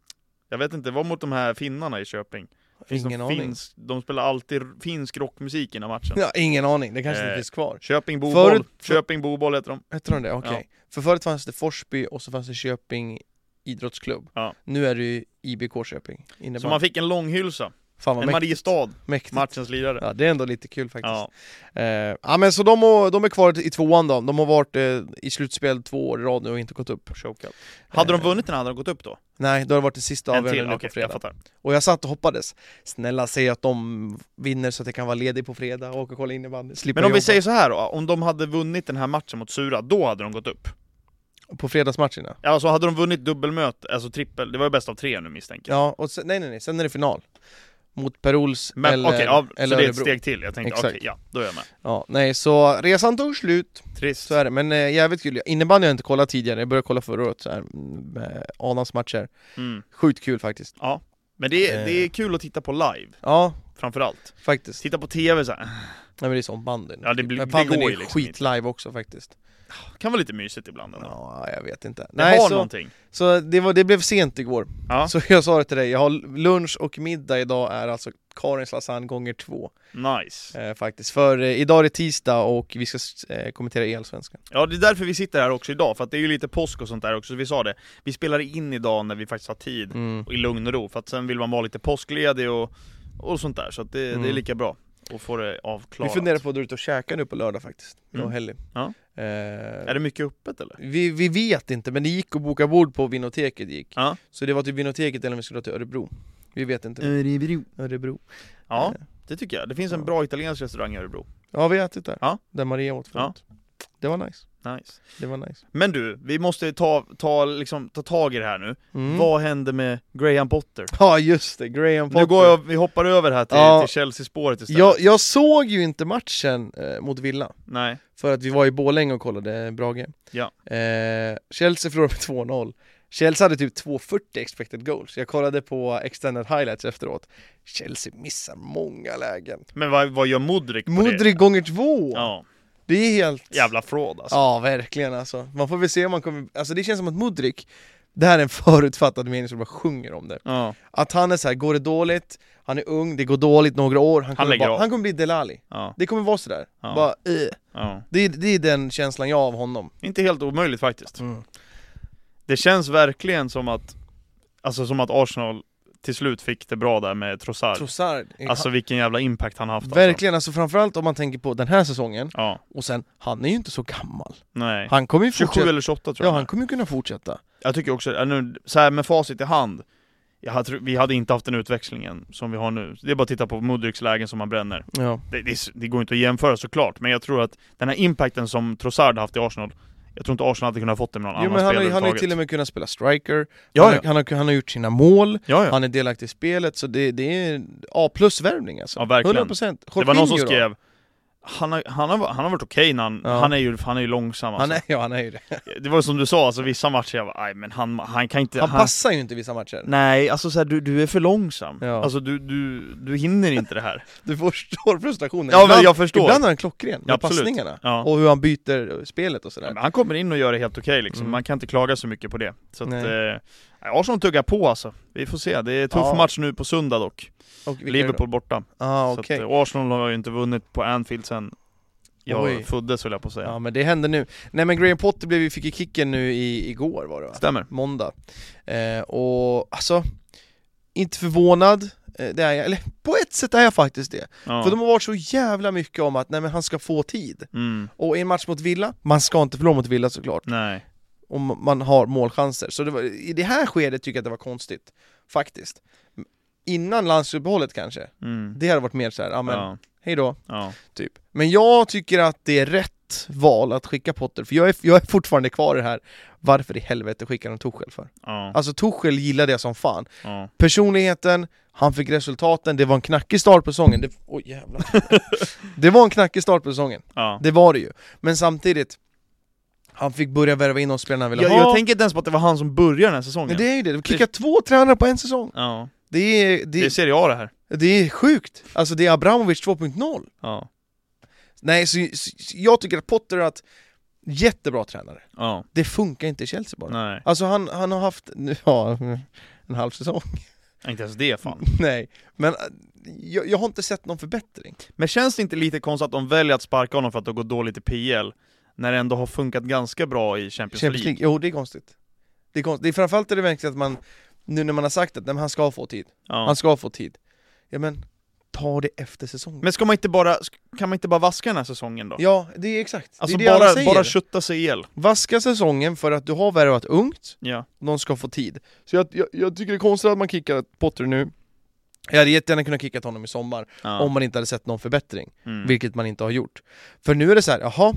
Speaker 1: Jag vet inte, det var mot de här finnarna i Köping. Finns
Speaker 2: ingen
Speaker 1: de,
Speaker 2: aning
Speaker 1: finsk, de spelar alltid r- finsk rockmusik innan matchen.
Speaker 2: Ja, ingen aning, det kanske
Speaker 1: Eh,
Speaker 2: inte finns kvar
Speaker 1: Köping Boboll,
Speaker 2: Förut-
Speaker 1: Köping Boboll heter de.
Speaker 2: Hette de det? Okej. För förut fanns det Forsby och så fanns det Köping idrottsklubb.
Speaker 1: Ja.
Speaker 2: Nu är det ju IBK Köping.
Speaker 1: Så
Speaker 2: Innebandy.
Speaker 1: man fick en långhylsa.
Speaker 2: Fan vad
Speaker 1: En
Speaker 2: mäktigt.
Speaker 1: Mariestad,
Speaker 2: mäktigt.
Speaker 1: matchens lirare.
Speaker 2: Ja, det är ändå lite kul faktiskt.
Speaker 1: Ja.
Speaker 2: Ja, eh, ja men så de, har- de är kvar i tvåan då. De har varit eh, i slutspel två år i rad nu och inte gått upp.
Speaker 1: Chokeout. Hade de
Speaker 2: Eh,
Speaker 1: vunnit den hade de gått upp då?
Speaker 2: Nej, då har det varit det sista
Speaker 1: En
Speaker 2: avgörande
Speaker 1: till?
Speaker 2: nu
Speaker 1: Okej,
Speaker 2: på
Speaker 1: jag
Speaker 2: fredag.
Speaker 1: fattar.
Speaker 2: och jag satt och hoppades. Snälla säg att de vinner så att jag kan vara ledig på fredag och åka och kolla innebandy. Slippa
Speaker 1: Men om
Speaker 2: jobba.
Speaker 1: vi säger så här då, om de hade vunnit den här matchen mot Sura, då hade de gått upp?
Speaker 2: På fredagsmatcherna?
Speaker 1: Ja, Alltså hade de vunnit dubbelmöte, alltså trippel, det var ju bäst av tre nu misstänker jag.
Speaker 2: Ja, och sen, nej nej nej, sen är det final. Mot Perols
Speaker 1: Men
Speaker 2: eller,
Speaker 1: okej, ja,
Speaker 2: eller
Speaker 1: så det är ett
Speaker 2: Örebro.
Speaker 1: steg till. Jag tänkte okej,
Speaker 2: Exakt.
Speaker 1: ja, då är jag med.
Speaker 2: Ja, nej så resan tog slut,
Speaker 1: Trist.
Speaker 2: så är det. Men eh, jävligt kul. Innebandy har jag inte kollat tidigare, jag började kolla förra året så här, mm, med Adams matcher.
Speaker 1: Mm.
Speaker 2: Sjukt kul faktiskt.
Speaker 1: Men det är,
Speaker 2: Eh.
Speaker 1: det är kul att titta på live,
Speaker 2: Ja,
Speaker 1: framförallt.
Speaker 2: faktiskt.
Speaker 1: Titta på TV så här.
Speaker 2: Nej men det är som banden.
Speaker 1: Ja, det blir-
Speaker 2: Men
Speaker 1: det
Speaker 2: banden
Speaker 1: går
Speaker 2: är
Speaker 1: ju liksom
Speaker 2: skitlive också faktiskt.
Speaker 1: kan vara lite mysigt ibland ändå.
Speaker 2: Ja, jag vet inte.
Speaker 1: Det Nej,
Speaker 2: Nej,
Speaker 1: har
Speaker 2: så,
Speaker 1: någonting.
Speaker 2: så det, var, det blev sent igår.
Speaker 1: Ja,
Speaker 2: Så jag sa det till dig, jag har lunch och middag idag är alltså Karins lasagne gånger två.
Speaker 1: nice.
Speaker 2: Eh, faktiskt, för eh, idag är det tisdag och vi ska eh, kommentera Elsvenskan.
Speaker 1: Ja, det är därför vi sitter här också idag, för att det är ju lite påsk och sånt där också, så vi sa det. Vi spelar in idag när vi faktiskt har tid,
Speaker 2: Mm.
Speaker 1: och i lugn och ro, för att sen vill man vara lite påskledig och, och sånt där, så att det, det är
Speaker 2: Mm.
Speaker 1: lika bra att få det
Speaker 2: Vi
Speaker 1: avklarat.
Speaker 2: funderar på att dra ut och käka nu på lördag faktiskt, jag och
Speaker 1: Mm.
Speaker 2: Helly.
Speaker 1: Ja.
Speaker 2: Eh,
Speaker 1: Är det mycket öppet eller?
Speaker 2: vi, vi vet inte, men det gick att boka bord på Vinoteket gick.
Speaker 1: Ja.
Speaker 2: Så det var till Vinoteket eller om vi skulle dra till Örebro. Vi vet inte.
Speaker 1: Örebro.
Speaker 2: Örebro.
Speaker 1: Ja,
Speaker 2: Eh,
Speaker 1: det tycker jag. Det finns
Speaker 2: Ja.
Speaker 1: en bra italiensk restaurang i Örebro.
Speaker 2: Ja, vi har ätit där.
Speaker 1: Ja.
Speaker 2: Där Maria åt förut. Det var nice.
Speaker 1: Nice.
Speaker 2: Det var nice.
Speaker 1: Men du, vi måste ta, ta, liksom, ta tag i det här nu.
Speaker 2: Mm.
Speaker 1: Vad hände med Graham Potter?
Speaker 2: Ja, just det. Graham Potter.
Speaker 1: Nu går jag, vi hoppar över här till,
Speaker 2: Ja.
Speaker 1: till Chelsea-spåret istället.
Speaker 2: jag, jag såg ju inte matchen eh, mot Villa.
Speaker 1: Nej.
Speaker 2: För att vi var i Borlänge och kollade Brage
Speaker 1: Ja.
Speaker 2: eh, Chelsea förlorade med 2-0 Chelsea hade typ 2.40 expected goals Jag kollade på extended highlights efteråt Chelsea missar många lägen
Speaker 1: Men vad, vad gör Modric på det?
Speaker 2: Modric gånger två!
Speaker 1: Ja,
Speaker 2: Det är helt...
Speaker 1: jävla fraud alltså.
Speaker 2: Ja, verkligen alltså Man får väl se om man kommer... Alltså det känns som att Modric Det här är en förutfattad mening som bara sjunger om det
Speaker 1: Ja.
Speaker 2: Att han är så här, går det dåligt? Han är ung, det går dåligt några år Han kommer,
Speaker 1: lägger
Speaker 2: bara,
Speaker 1: av.
Speaker 2: han kommer bli Delali
Speaker 1: Ja.
Speaker 2: Det kommer vara sådär,
Speaker 1: Ja.
Speaker 2: bara eh.
Speaker 1: ja.
Speaker 2: det, är- det är den känslan jag har av honom
Speaker 1: Inte helt omöjligt faktiskt.
Speaker 2: Mm.
Speaker 1: Det känns verkligen som att, alltså som att Arsenal till slut fick det bra där med Trossard.
Speaker 2: Trossard, eh,
Speaker 1: Alltså vilken jävla impact han haft alltså.
Speaker 2: Verkligen, alltså framförallt om man tänker på den här säsongen
Speaker 1: Ja,
Speaker 2: Och sen, han är ju inte så gammal
Speaker 1: nej.
Speaker 2: Han kommer ju
Speaker 1: 27
Speaker 2: fortsätta
Speaker 1: eller 28 tror
Speaker 2: Ja,
Speaker 1: jag
Speaker 2: han kommer ju kunna fortsätta
Speaker 1: Jag tycker också, ja, nu, så här med facit i hand jag hade, vi hade inte haft den utväxlingen som vi har nu. Det är bara att titta på Mudriks lägen som han bränner.
Speaker 2: Ja,
Speaker 1: Det, det, det går inte att jämföra såklart, men jag tror att den här impacten som Trossard haft i Arsenal, jag tror inte Arsenal hade kunnat fått det med någon
Speaker 2: jo,
Speaker 1: annan
Speaker 2: men han, har,
Speaker 1: spelare
Speaker 2: ju- han har ju
Speaker 1: överhuvudtaget.
Speaker 2: till och med kunnat spela striker
Speaker 1: Ja,
Speaker 2: han, har, han, har, han har gjort sina mål
Speaker 1: Ja, ja.
Speaker 2: Han är delaktig i spelet, så det, det är A plus värvning alltså
Speaker 1: Ja, verkligen.
Speaker 2: 100%
Speaker 1: Det var någon som
Speaker 2: Jorginho då?
Speaker 1: skrev han har, han, har, han har varit okej när han,
Speaker 2: Ja.
Speaker 1: han, är ju, han är ju långsam
Speaker 2: han
Speaker 1: alltså.
Speaker 2: är, Ja, han är ju det
Speaker 1: Det var som du sa, alltså, vissa matcher jag bara, "Aj, men han, han kan inte...
Speaker 2: Han passar ju inte i vissa matcher
Speaker 1: Nej, alltså så här, du, du är för långsam.
Speaker 2: Ja.
Speaker 1: Alltså du, du, du hinner inte det här.
Speaker 2: Du förstår frustrationen
Speaker 1: Ja, men
Speaker 2: Ibland-
Speaker 1: jag förstår.
Speaker 2: Ibland är han klockren med
Speaker 1: Ja, absolut.
Speaker 2: passningarna
Speaker 1: Ja.
Speaker 2: och hur han byter spelet och sådär
Speaker 1: Ja, men han kommer in och gör det helt okej liksom,
Speaker 2: Mm.
Speaker 1: man kan inte klaga så mycket på det. Så att,
Speaker 2: Nej.
Speaker 1: eh, nej, Arsenal tuggar på alltså. Vi får se, det är en tuff
Speaker 2: Ja.
Speaker 1: match nu på söndag dock.
Speaker 2: Och vilka är det då?
Speaker 1: Liverpool borta.
Speaker 2: Ah,
Speaker 1: Så
Speaker 2: okej.
Speaker 1: att, eh, och Arsenal har ju inte vunnit på Anfield sen jag
Speaker 2: Oj.
Speaker 1: föddes höll jag på att säga.
Speaker 2: Ja men det händer nu. Nej men Graham Potter blev, ju- fick ju kicken nu i, igår var det va?
Speaker 1: Stämmer.
Speaker 2: Måndag. Eh, och alltså, inte förvånad, eh, det är jag, eller på ett sätt är jag faktiskt det.
Speaker 1: Ja.
Speaker 2: För de har varit så jävla mycket om att nej men han ska få tid.
Speaker 1: Mm.
Speaker 2: Och i en match mot Villa, man ska inte förlora mot Villa såklart,
Speaker 1: Nej.
Speaker 2: om man har målchanser. Så det var, i det här skedet tycker jag att det var konstigt, faktiskt. Innan landslagsuppehållet kanske,
Speaker 1: Mm.
Speaker 2: det hade varit mer såhär, ja men
Speaker 1: Ja.
Speaker 2: hej då.
Speaker 1: Ja.
Speaker 2: Typ. Men jag tycker att det är rätt val att skicka Potter, för jag är, jag är fortfarande kvar i det här Varför i helvete skickar de Torshäll för?
Speaker 1: Ja.
Speaker 2: Alltså Torshäll gillade jag som fan
Speaker 1: Ja.
Speaker 2: Personligheten, han fick resultaten, det var en knackig start på säsongen det, Oj jävlar Det var en knackig start på säsongen,
Speaker 1: Ja.
Speaker 2: det var det ju Men samtidigt Han fick börja värva in de spelarna han ville
Speaker 1: Jag,
Speaker 2: ha
Speaker 1: jag tänker inte ens på att det var han som började den här säsongen.
Speaker 2: Men det är ju det, de kickar två tränare på en säsong
Speaker 1: Ja.
Speaker 2: Det är,
Speaker 1: Det är
Speaker 2: det,
Speaker 1: Serie A det här.
Speaker 2: det är sjukt! Alltså det är Abramovic 2.0
Speaker 1: Ja.
Speaker 2: Nej, så, så, så jag tycker att Potter är att jättebra tränare.
Speaker 1: Ja.
Speaker 2: Det funkar inte i Chelsea bara.
Speaker 1: Nej.
Speaker 2: Alltså han, han har haft, nu- ja, en halv säsong.
Speaker 1: Inte ens det fan.
Speaker 2: Nej, men äh, jag, jag har inte sett någon förbättring.
Speaker 1: Men känns det inte lite konstigt att de väljer att sparka honom för att det går dåligt i PL? När det ändå har funkat ganska bra i Champions, League.
Speaker 2: Champions League, jo det är konstigt. Det är, konstigt. Det är framförallt är det verkligen att man, nu när man har sagt att nej, men han ska få tid,
Speaker 1: Ja.
Speaker 2: han ska få tid. Ja men, ta det efter säsongen.
Speaker 1: Men ska man inte bara, kan man inte bara vaska den här säsongen då?
Speaker 2: Ja, det är exakt.
Speaker 1: Alltså
Speaker 2: det är det alla
Speaker 1: bara,
Speaker 2: säger.
Speaker 1: bara kötta sig ihjäl.
Speaker 2: Vaska säsongen för att du har värvat ungt,
Speaker 1: Ja.
Speaker 2: någon ska få tid. Så jag, jag, jag tycker det är konstigt att man kickar Potter nu. Jag hade jättegärna kunnat kicka honom i sommar
Speaker 1: ja.
Speaker 2: om man inte hade sett någon förbättring,
Speaker 1: mm.
Speaker 2: vilket man inte har gjort. För nu är det så här, jaha,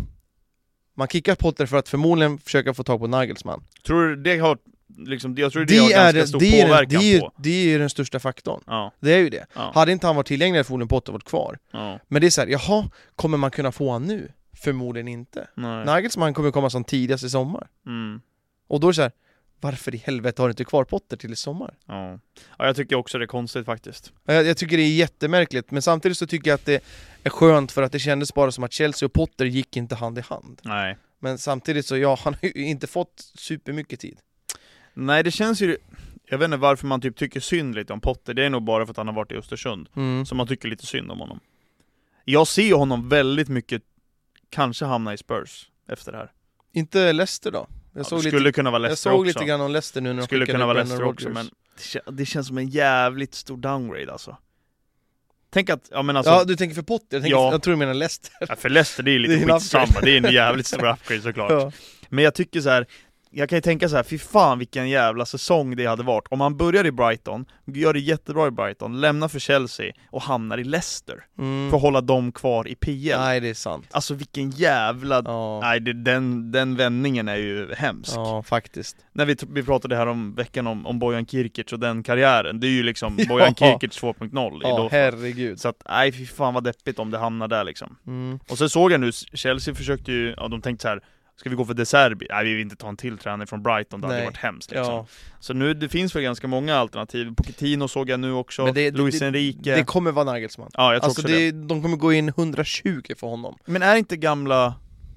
Speaker 2: man kickar Potter för att förmodligen försöka få tag på Nagelsmann.
Speaker 1: Tror du det har, liksom, jag tror det, har ganska stor
Speaker 2: det, är, den-
Speaker 1: påverkan
Speaker 2: det, är,
Speaker 1: på.
Speaker 2: det är den största faktorn.
Speaker 1: Ja.
Speaker 2: Det är ju det.
Speaker 1: Ja.
Speaker 2: Hade inte han varit tillgänglig hade förmodligen Potter varit kvar.
Speaker 1: ja.
Speaker 2: Men det är så här, jaha, kommer man kunna få han nu? Förmodligen inte.
Speaker 1: Nej.
Speaker 2: Nagelsmann kommer komma som tidigast i sommar.
Speaker 1: Mm.
Speaker 2: Och då är det så här, Varför i helvete har du inte kvar Potter till i sommar?
Speaker 1: Ja. ja, jag tycker också det är konstigt faktiskt.
Speaker 2: Eh, Jag, jag tycker det är jättemärkligt, men samtidigt så tycker jag att det är skönt för att det kändes bara som att Chelsea och Potter gick inte hand i hand.
Speaker 1: Nej.
Speaker 2: Men samtidigt så, ja, han har ju inte fått supermycket tid.
Speaker 1: Nej, det känns ju... Jag vet inte varför man typ tycker synd lite om Potter, det är nog bara för att han har varit i Östersund.
Speaker 2: Mm.
Speaker 1: Så man tycker lite synd om honom. Jag ser ju honom väldigt mycket, kanske hamna i Spurs efter det här.
Speaker 2: Inte Leicester då?
Speaker 1: Ja,
Speaker 2: Jag
Speaker 1: det
Speaker 2: såg,
Speaker 1: skulle
Speaker 2: lite,
Speaker 1: kunna vara
Speaker 2: jag
Speaker 1: Leicester
Speaker 2: såg
Speaker 1: också.
Speaker 2: lite grann om Leicester nu när de
Speaker 1: skulle
Speaker 2: skickade
Speaker 1: kunna
Speaker 2: ut
Speaker 1: vara
Speaker 2: Brendan
Speaker 1: Leicester också,
Speaker 2: Rodgers.
Speaker 1: men det, kän- det känns som en jävligt stor downgrade alltså. Tänk att, ja men alltså,
Speaker 2: ja, du tänker för Potter? Jag, tänker,
Speaker 1: Ja.
Speaker 2: jag tror du menar Leicester.
Speaker 1: ja, för Leicester det är ju
Speaker 2: Det är
Speaker 1: lite
Speaker 2: en
Speaker 1: skitsamma,
Speaker 2: upgrade.
Speaker 1: det är en jävligt stor upgrade såklart.
Speaker 2: Ja.
Speaker 1: Men jag tycker så här. Jag kan ju tänka så här, fy fan vilken jävla säsong det hade varit om han börjar i Brighton, gör det jättebra i Brighton, lämnar för Chelsea och hamnar i Leicester
Speaker 2: Mm.
Speaker 1: för att hålla dem kvar i PL.
Speaker 2: Nej, det är sant.
Speaker 1: Alltså vilken jävla...
Speaker 2: Ja,
Speaker 1: Nej, det, den, den vändningen är ju hemsk.
Speaker 2: ja faktiskt.
Speaker 1: När vi, t- vi pratade här om veckan om, om Bojan Kirkic och den karriären, det är ju liksom
Speaker 2: Ja.
Speaker 1: Bojan Kirkic 2.0 i
Speaker 2: Ja,
Speaker 1: Dortmund.
Speaker 2: herregud.
Speaker 1: Så att, nej fy fan vad deppigt om det hamnar där liksom.
Speaker 2: Mm.
Speaker 1: Och sen såg jag nu, Chelsea försökte ju, ja de tänkte så här. Ska vi gå för De Serbi? Nej vi vill inte ta en till tränare från Brighton, det hade
Speaker 2: Nej.
Speaker 1: varit hemskt liksom.
Speaker 2: Ja.
Speaker 1: Så nu, det finns väl ganska många alternativ, Pochettino såg jag nu också,
Speaker 2: Men det- det-
Speaker 1: Luis
Speaker 2: det-
Speaker 1: Enrique
Speaker 2: Det kommer vara Nagelsmann.
Speaker 1: Ja jag tror
Speaker 2: Alltså
Speaker 1: också
Speaker 2: det, de kommer gå in 120 för honom.
Speaker 1: det. Men är inte gamla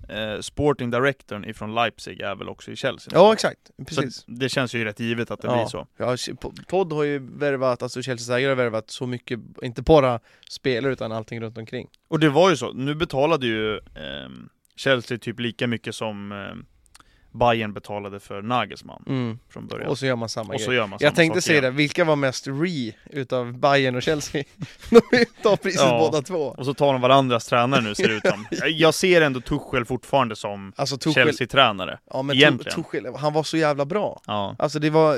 Speaker 1: eh, Sporting Directorn ifrån Leipzig är väl också i Chelsea?
Speaker 2: Ja, exakt.
Speaker 1: så
Speaker 2: Precis.
Speaker 1: det känns ju rätt givet att det
Speaker 2: Ja.
Speaker 1: blir så
Speaker 2: Ja, Ch- Todd har ju värvat, alltså Chelseas ägare har värvat så mycket, inte bara spelare utan allting runt omkring.
Speaker 1: Och det var ju så, nu betalade ju ehm, Chelsea typ lika mycket som ehm, Bayern betalade för Nagelsmann från början.
Speaker 2: Och så gör man samma
Speaker 1: Mm. Och så
Speaker 2: grej.
Speaker 1: gör man samma
Speaker 2: Jag tänkte
Speaker 1: sak
Speaker 2: säga det,
Speaker 1: igen.
Speaker 2: vilka var mest re utav Bayern och Chelsea? de tar priset
Speaker 1: Ja.
Speaker 2: båda två.
Speaker 1: Och så tar de varandras tränare nu ser det ut som. Jag- Jag ser ändå Tuchel fortfarande som
Speaker 2: Alltså Tuchel,
Speaker 1: Chelsea-tränare.
Speaker 2: ja, men Tu-
Speaker 1: egentligen.
Speaker 2: Tuchel, han var så jävla bra.
Speaker 1: Ja.
Speaker 2: Alltså det var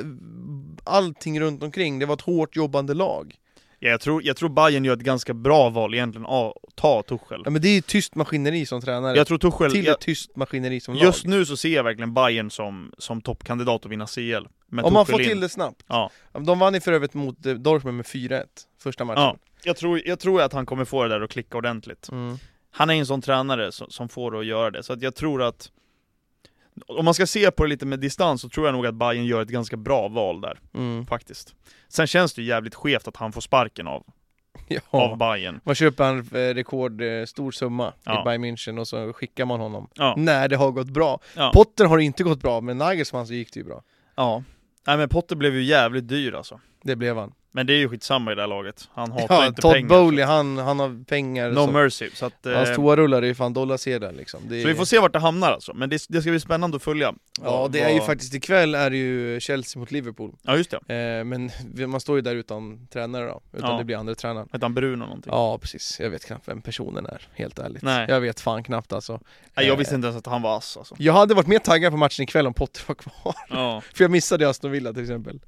Speaker 2: allting runt omkring, det var ett hårt jobbande lag.
Speaker 1: Ja, jag, tror, jag tror Bayern gör ett ganska bra val egentligen av att ta Tuchel.
Speaker 2: Ja men det är ju tyst maskineri som tränare,
Speaker 1: Jag tror Tuchel,
Speaker 2: till
Speaker 1: jag,
Speaker 2: ett tyst maskineri som
Speaker 1: just
Speaker 2: lag.
Speaker 1: nu så ser jag verkligen Bayern som, som toppkandidat att vinna CL. Med
Speaker 2: Om
Speaker 1: Tuchel
Speaker 2: man får
Speaker 1: in.
Speaker 2: till det snabbt.
Speaker 1: Ja.
Speaker 2: De vann ju för övrigt mot eh, Dortmund med 4-1, första matchen.
Speaker 1: Ja. Jag tror, jag tror att han kommer få det där att klicka ordentligt.
Speaker 2: Mm.
Speaker 1: Han är en sån tränare som, som får det att göra det, så att jag tror att om man ska se på det lite med distans så tror jag nog att Bayern gör ett ganska bra val där,
Speaker 2: Mm.
Speaker 1: faktiskt. Sen känns det ju jävligt skevt att han får sparken av,
Speaker 2: Ja.
Speaker 1: av Bayern.
Speaker 2: Man köper en eh, rekordstor summa
Speaker 1: Ja.
Speaker 2: i Bayern München och så skickar man honom
Speaker 1: Ja.
Speaker 2: när det har gått bra.
Speaker 1: Mm. Ja.
Speaker 2: Potter har inte gått bra, men Nagelsmann så gick det ju bra.
Speaker 1: ja. Nej men Potter blev ju jävligt dyr alltså.
Speaker 2: Det blev han.
Speaker 1: Men det är ju skitsamma i det här laget. Han hatar
Speaker 2: Ja,
Speaker 1: inte
Speaker 2: Todd
Speaker 1: pengar.
Speaker 2: Bowley, han, han har pengar.
Speaker 1: No
Speaker 2: som,
Speaker 1: mercy. Så, att, eh,
Speaker 2: Hans toarullar är ju fan dollarsedlar liksom. Det alltså, är,
Speaker 1: så vi får se vart det hamnar alltså. Men det, det ska bli spännande att följa.
Speaker 2: ja,
Speaker 1: Vad-
Speaker 2: det är ju
Speaker 1: vad-
Speaker 2: faktiskt ikväll är det ju Chelsea mot Liverpool.
Speaker 1: Ja just det.
Speaker 2: Eh, men vi- man står ju där utan tränare då, utan
Speaker 1: Ja.
Speaker 2: det blir andra tränaren.
Speaker 1: Hette han Bruno någonting?
Speaker 2: Ja precis, jag vet knappt vem personen är, helt ärligt.
Speaker 1: Nej.
Speaker 2: Jag vet fan knappt alltså.
Speaker 1: Nej, jag visste inte ens att han var ass alltså.
Speaker 2: Jag hade varit mer taggad på matchen ikväll om Potter var kvar.
Speaker 1: Ja.
Speaker 2: För jag missade Aston Villa till exempel.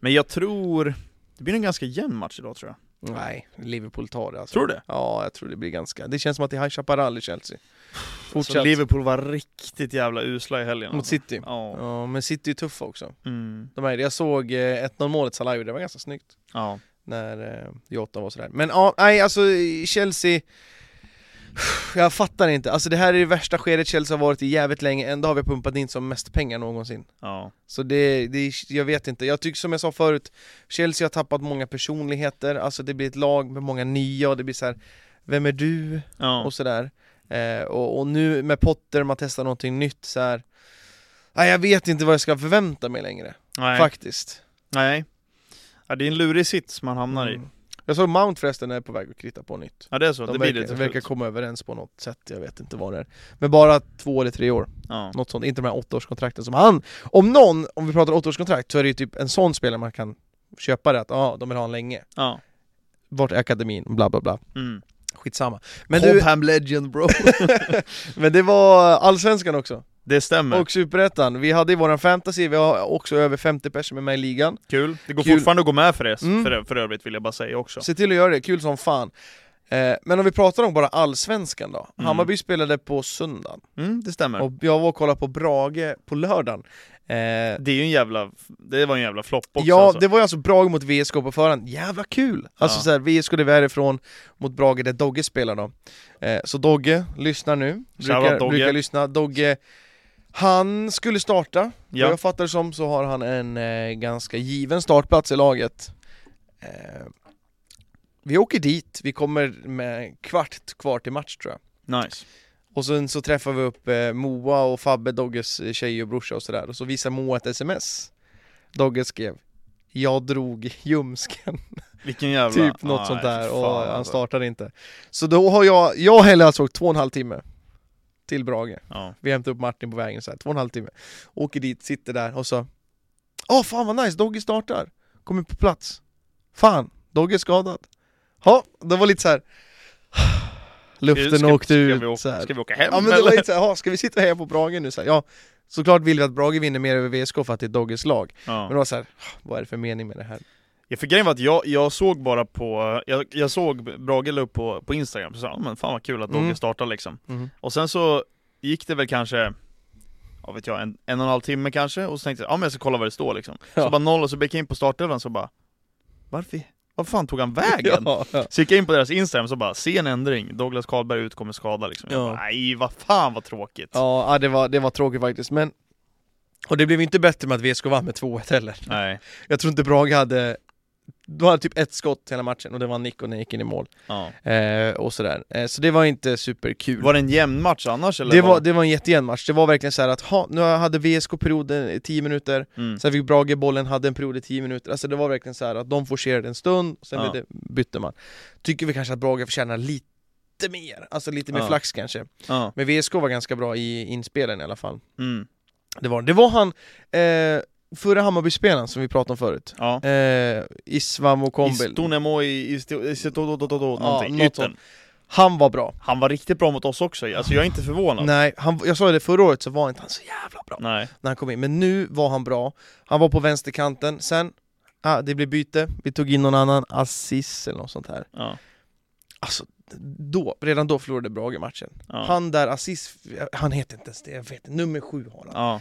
Speaker 1: Men jag tror... Det blir en ganska jämn match idag tror jag.
Speaker 2: Nej, Liverpool tar det alltså.
Speaker 1: Tror du det?
Speaker 2: Ja, jag tror det blir ganska... Det känns som att det är High Chaparral i Chelsea.
Speaker 1: Så
Speaker 2: Fortsätt.
Speaker 1: Alltså, Liverpool var riktigt jävla usla i helgen.
Speaker 2: Mot
Speaker 1: alltså.
Speaker 2: City.
Speaker 1: Ja.
Speaker 2: Ja, men City är tuffa också.
Speaker 1: Mm.
Speaker 2: De är det. Jag såg eh, 1-0 målet Salah gjorde, det var ganska snyggt.
Speaker 1: ja.
Speaker 2: När eh, Jota var sådär. Men ja, nej alltså Chelsea... Jag fattar inte. Alltså det här är det värsta skedet Chelsea har varit i jävligt länge. Ändå har vi pumpat in som mest pengar någonsin.
Speaker 1: ja.
Speaker 2: Så det, det, jag vet inte, jag tycker som jag sa förut Chelsea har tappat många personligheter, alltså det blir ett lag med många nya och det blir så här Vem är du?
Speaker 1: Ja.
Speaker 2: Och sådär eh, och, och nu med Potter, man testar någonting nytt så här. Nej jag vet inte vad jag ska förvänta mig längre,
Speaker 1: Nej.
Speaker 2: faktiskt
Speaker 1: Nej. Ja, det är en lurig sits man hamnar i.
Speaker 2: Mm. Jag såg Mount förresten är på väg att krita på nytt
Speaker 1: Ja det är så,
Speaker 2: De
Speaker 1: det blir
Speaker 2: verkar,
Speaker 1: det till
Speaker 2: verkar
Speaker 1: slut.
Speaker 2: komma överens på något sätt, jag vet inte vad det är Men bara två eller tre år,
Speaker 1: Ja.
Speaker 2: något sånt, inte de här åttaårskontrakten som han Om någon, om vi pratar åttaårskontrakt, så är det ju typ en sån spelare man kan köpa det att ja, de vill ha en länge
Speaker 1: ja.
Speaker 2: vart är akademin, bla bla bla.
Speaker 1: Mm.
Speaker 2: Skitsamma. Men, du,
Speaker 1: legend bro!
Speaker 2: men det var allsvenskan också,
Speaker 1: det stämmer.
Speaker 2: och superettan. Vi hade i våran fantasy, vi har också över 50 personer med i ligan.
Speaker 1: Kul. Det går
Speaker 2: Kul.
Speaker 1: fortfarande att gå med för det,
Speaker 2: Mm.
Speaker 1: för, för övrigt vill jag bara säga också.
Speaker 2: Se till att göra det, kul som fan. Eh, men om vi pratar om bara allsvenskan då. Hammarby spelade på söndagen,
Speaker 1: Mm, det stämmer.
Speaker 2: och jag var och kollade på Brage på lördagen. Eh,
Speaker 1: Det är ju en jävla, det var en jävla flopp också
Speaker 2: ja,
Speaker 1: alltså.
Speaker 2: det var ju alltså Brage mot VSK på förhand. Jävla kul! Alltså
Speaker 1: Ja.
Speaker 2: såhär, VSK det vi är ifrån mot Brage där Dogge spelar då. Eh, så Dogge, lyssna nu.
Speaker 1: Shoutout
Speaker 2: Brukar,
Speaker 1: Dogge.
Speaker 2: brukar lyssna. Dogge, Han skulle starta,
Speaker 1: Ja.
Speaker 2: vad jag fattar det som så har han en eh, ganska given startplats i laget eh, Vi åker dit, vi kommer med kvart kvar till match tror jag
Speaker 1: Nice.
Speaker 2: Och sen så träffar vi upp eh, Moa och Fabbe, Dogges eh, tjej och brorsa och sådär Och så visar Moa ett sms Dogge skrev Jag drog i ljumsken,
Speaker 1: Vilken jävla...
Speaker 2: typ något
Speaker 1: Nej,
Speaker 2: sånt
Speaker 1: fy
Speaker 2: där och
Speaker 1: fan,
Speaker 2: han
Speaker 1: alltså.
Speaker 2: startade inte Så då har jag, jag och Helle alltså åkt två och en halv timme Till Brage
Speaker 1: Ja.
Speaker 2: vi hämtar upp Martin på vägen så här, två och en halv timme Åker dit, sitter där och så Åh fan vad nice, Dogge startar! Kommer på plats Fan, Dogge är skadad Ja, det var lite så här. Luften
Speaker 1: Ska-
Speaker 2: åkte
Speaker 1: ska
Speaker 2: ut
Speaker 1: vi åka,
Speaker 2: så här.
Speaker 1: Ska vi åka hem
Speaker 2: Ja men det var
Speaker 1: eller?
Speaker 2: lite så här, "Jaha, ska vi sitta och heja på Brage nu? Så här, ja, såklart vill vi att Brage vinner mer över VSK för att det är Dogges lag Men det
Speaker 1: Ja.
Speaker 2: var så här, "Ah, vad är det för mening med det här?
Speaker 1: Ja, för grejen var att jag, jag såg bara på, jag, jag såg Brage la upp på, på Instagram, så sa jag, "Ja, men fan vad kul att Dogge
Speaker 2: Mm.
Speaker 1: startar liksom Och sen så gick det väl kanske, ja vet jag, en, en och en halv timme kanske, och så tänkte jag, ja men jag ska kolla vad det står liksom Så
Speaker 2: Ja.
Speaker 1: bara noll, och så gick jag in på startelvan så bara, varför, vad fan tog han vägen?
Speaker 2: Ja, ja.
Speaker 1: Så gick jag in på deras Instagram så bara, se en ändring, Douglas Karlberg ut, kommer skada liksom jag
Speaker 2: Ja.
Speaker 1: bara, Nej vad fan vad tråkigt!
Speaker 2: ja ja, det, var, det var tråkigt faktiskt men Och det blev inte bättre med att VSK vann med 2-1 heller
Speaker 1: Nej,
Speaker 2: Jag tror inte Brage hade de hade typ ett skott hela matchen och det var Nick och när gick in i mål
Speaker 1: ja.
Speaker 2: eh, och sådär. Eh, så det var inte superkul.
Speaker 1: Var det en jämn match annars eller?
Speaker 2: det, var, det var en jättejämn match, det var verkligen så här att ha, nu hade VSK perioden i 10 minuter,
Speaker 1: Mm.
Speaker 2: sen fick Brage bollen, hade en period i 10 minuter, alltså det var verkligen så här att de forcerade en stund, sen
Speaker 1: Ja.
Speaker 2: blev det, bytte man. Tycker vi kanske att Brage förtjänar lite mer, alltså lite mer
Speaker 1: Ja.
Speaker 2: flax kanske.
Speaker 1: Ja,
Speaker 2: Men VSK var ganska bra i inspelen i alla fall.
Speaker 1: mm.
Speaker 2: Det var, det var han, eh, förra Hammarby-spelaren som vi pratade om förut.
Speaker 1: ja.
Speaker 2: Eh, Isvam och Kombil.
Speaker 1: Istonemo i, isto- istitotototo,
Speaker 2: Ja,
Speaker 1: någonting,
Speaker 2: något
Speaker 1: yttern
Speaker 2: sånt. Han var bra.
Speaker 1: Han var riktigt bra mot oss också, alltså jag är inte förvånad
Speaker 2: Nej, han, jag sa ju det förra året så var inte han så jävla bra
Speaker 1: Nej.
Speaker 2: när han kom in. Men nu var han bra. Han var på vänsterkanten, sen, ah, det blev byte. Vi tog in någon annan, Assis eller något sånt här.
Speaker 1: Ja,
Speaker 2: Alltså, då, redan då förlorade Brage matchen.
Speaker 1: ja.
Speaker 2: Han där, Assis, han heter inte ens det, jag vet inte. Nummer sju har han.
Speaker 1: ja.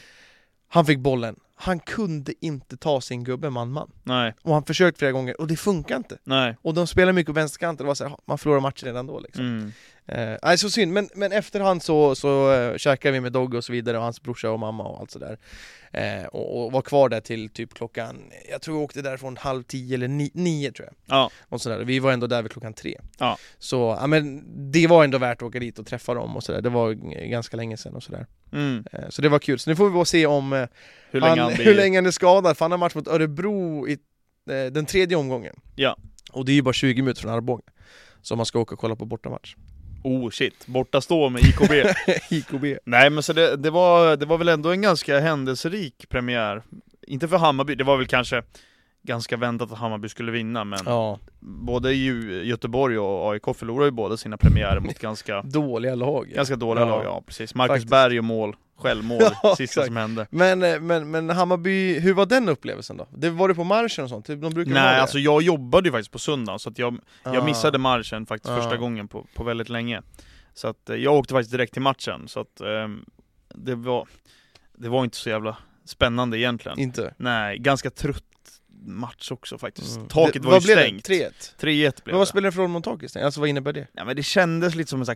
Speaker 2: Han fick bollen. Han kunde inte ta sin gubbe man-man.
Speaker 1: Nej,
Speaker 2: Och han försökte flera gånger och det funkar inte.
Speaker 1: nej
Speaker 2: Och de spelar mycket på vänsterkanten, det var så här, man förlorar matchen redan då liksom.
Speaker 1: mm.
Speaker 2: Eh, nej, så synd, men, men efterhand så, så eh, käkade vi med Dogge och så vidare och hans brorsa och mamma och allt sådär eh, och, och var kvar där till typ klockan, jag tror vi åkte därifrån halv tio eller ni, nio tror jag
Speaker 1: Ja,
Speaker 2: och sådär. Vi var ändå där vid klockan tre
Speaker 1: Ja.
Speaker 2: Så ja, men det var ändå värt att åka dit och träffa dem och sådär, det var g- ganska länge sedan och sådär
Speaker 1: mm.
Speaker 2: eh, Så det var kul, så nu får vi bara se om eh,
Speaker 1: Hur länge
Speaker 2: han,
Speaker 1: han, blir...
Speaker 2: hur länge han är skadad, för han har match mot Örebro i eh, den tredje omgången
Speaker 1: Ja.
Speaker 2: Och det är ju bara 20 minuter från Arboga Så man ska åka och kolla på bortamatch
Speaker 1: Oh shit, borta stå med IKB
Speaker 2: IKB
Speaker 1: Nej men så det, det, var, det var väl ändå en ganska händelserik premiär Inte för Hammarby, det var väl kanske ganska väntat att Hammarby skulle vinna men
Speaker 2: Ja,
Speaker 1: både ju Göteborg och AIK förlorade ju båda sina premiärer mot ganska,
Speaker 2: dåliga lag.
Speaker 1: ganska dåliga
Speaker 2: Ja.
Speaker 1: lag, ja precis Marcus
Speaker 2: Faktiskt.
Speaker 1: Berg och mål, självmål,
Speaker 2: Ja,
Speaker 1: sista
Speaker 2: exakt.
Speaker 1: som hände
Speaker 2: Men, eh, men, men Hammarby, hur var den upplevelsen då? Det, var du på marschen och sånt? Typ, De brukar ha
Speaker 1: Nej
Speaker 2: det.
Speaker 1: alltså jag jobbade ju faktiskt på söndagen så att jag, jag
Speaker 2: Ah.
Speaker 1: missade matchen faktiskt första
Speaker 2: Ah.
Speaker 1: gången på, på väldigt länge Så att eh, jag åkte faktiskt direkt till matchen så att ehm, det var Det var inte så jävla spännande egentligen
Speaker 2: Inte?
Speaker 1: Nej, ganska trött match också faktiskt.
Speaker 2: Mm.
Speaker 1: Taket
Speaker 2: Det-
Speaker 1: var ju
Speaker 2: vad blev
Speaker 1: stängt.
Speaker 2: Det? 3-1?
Speaker 1: 3-1
Speaker 2: Men
Speaker 1: blev
Speaker 2: vad
Speaker 1: det.
Speaker 2: spelar det för roll om taket stängt? Alltså vad innebär det?
Speaker 1: Ja, men det kändes lite som en sån här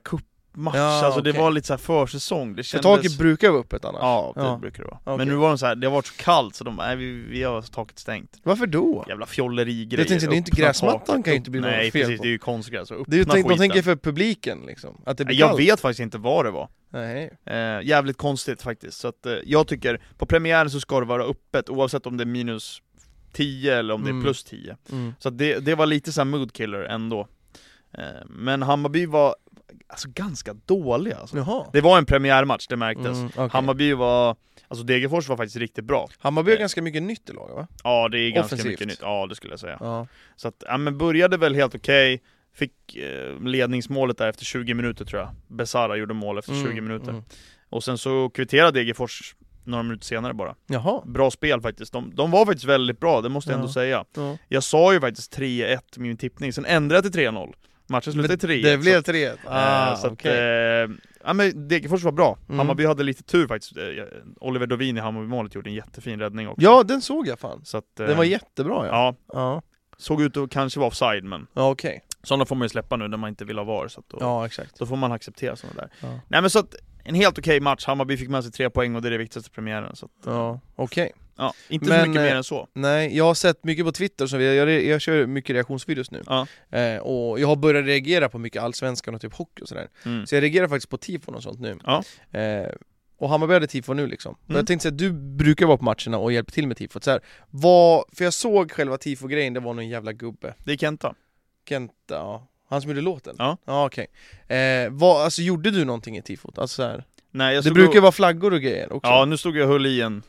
Speaker 1: cupmatch,
Speaker 2: Ja,
Speaker 1: alltså det
Speaker 2: okej.
Speaker 1: var lite så här försäsong. Det
Speaker 2: För
Speaker 1: kändes...
Speaker 2: taket brukar vara öppet annars?
Speaker 1: Ja, det
Speaker 2: Ja.
Speaker 1: brukar det vara.
Speaker 2: Okej.
Speaker 1: Men nu var de så här, det har varit så kallt så de bara, nej vi, vi har taket stängt.
Speaker 2: Varför då?
Speaker 1: Jävla fjollerigrejer.
Speaker 2: Jag tänkte, det är inte
Speaker 1: Öppna
Speaker 2: gräsmattan
Speaker 1: taket.
Speaker 2: kan ju inte bli något
Speaker 1: Nej
Speaker 2: fel
Speaker 1: precis,
Speaker 2: på.
Speaker 1: det är ju konstgräs. så
Speaker 2: Det är, ju
Speaker 1: Öppna
Speaker 2: tänkt, de
Speaker 1: skiten.
Speaker 2: tänker för publiken liksom, att det blir
Speaker 1: Jag
Speaker 2: kallt.
Speaker 1: vet faktiskt inte vad det var.
Speaker 2: Nej.
Speaker 1: Eh, jävligt konstigt faktiskt. Så att, eh, jag tycker, på premiären så ska det vara öppet oavsett om det är minus 10 eller om det är
Speaker 2: Mm.
Speaker 1: plus 10.
Speaker 2: Mm.
Speaker 1: Så att det, det var lite såhär moodkiller ändå Eh, Men Hammarby var alltså ganska dåliga alltså.
Speaker 2: Jaha.
Speaker 1: Det var en premiärmatch, det märktes
Speaker 2: Mm, okej.
Speaker 1: Hammarby Eh. var, alltså Degerfors var faktiskt riktigt bra
Speaker 2: Hammarby har ganska mycket nytt i laget va?
Speaker 1: Ja det är ganska
Speaker 2: Offensivt.
Speaker 1: mycket nytt, ja det skulle jag säga
Speaker 2: Ja.
Speaker 1: Så att, ja men började väl helt okej Fick eh, ledningsmålet där efter 20 minuter tror jag Besara gjorde mål efter 20 minuter
Speaker 2: Mm.
Speaker 1: Och sen så kvitterade Degerfors några minuter senare bara
Speaker 2: Jaha.
Speaker 1: Bra spel faktiskt, de, de var faktiskt väldigt bra, det måste jag ändå
Speaker 2: Ja.
Speaker 1: säga
Speaker 2: Ja.
Speaker 1: Jag sa ju faktiskt 3-1 i min tippning, sen ändrade jag till 3-0 Matchen slutade 3-1
Speaker 2: Det blev
Speaker 1: så,
Speaker 2: 3-1.
Speaker 1: ah,
Speaker 2: Ah,
Speaker 1: så att,
Speaker 2: okej.
Speaker 1: eh, ja men Degerfors var bra,
Speaker 2: Mm.
Speaker 1: Hammarby hade lite tur faktiskt Eh, Oliver Dovin i Hammarbymålet gjorde en jättefin räddning också
Speaker 2: Ja, den såg jag fan.
Speaker 1: så att, eh,
Speaker 2: Den var jättebra ja.
Speaker 1: Ja,
Speaker 2: Ja,
Speaker 1: såg ut att kanske vara offside men
Speaker 2: ja okej.
Speaker 1: sådana får man ju släppa nu när man inte vill ha VAR så att då,
Speaker 2: Ja, exakt.
Speaker 1: då får man acceptera sådana där
Speaker 2: Ja.
Speaker 1: Nej men så att en helt okej match, Hammarby fick med sig tre poäng och det är det viktigaste i premiären. Så att,
Speaker 2: Ja, okej.
Speaker 1: ja, inte så
Speaker 2: Men,
Speaker 1: mycket
Speaker 2: eh,
Speaker 1: mer än så.
Speaker 2: Nej, jag har sett mycket på Twitter, som vi, jag, jag kör mycket reaktionsvideos nu.
Speaker 1: Ja.
Speaker 2: Eh, och jag har börjat reagera på mycket allsvenskan och typ hockey och sådär.
Speaker 1: Mm.
Speaker 2: Så jag reagerar faktiskt på tifon och sånt nu.
Speaker 1: Ja.
Speaker 2: Eh, och Hammarby hade tifo nu liksom.
Speaker 1: Mm.
Speaker 2: Och jag tänkte säga, du brukar vara på matcherna och hjälpa till med tifot. Så här, vad, för jag såg själva tifo-grejen, det var någon jävla gubbe.
Speaker 1: Det är Kenta.
Speaker 2: Kenta, ja. Han som gjorde låten?
Speaker 1: Ja.
Speaker 2: Ja okej. Eh, vad, alltså gjorde du någonting i tifot? Alltså så här,
Speaker 1: Nej, jag
Speaker 2: Det
Speaker 1: stod
Speaker 2: brukar
Speaker 1: och,
Speaker 2: vara flaggor och grejer också?
Speaker 1: Ja, nu stod jag och höll i en,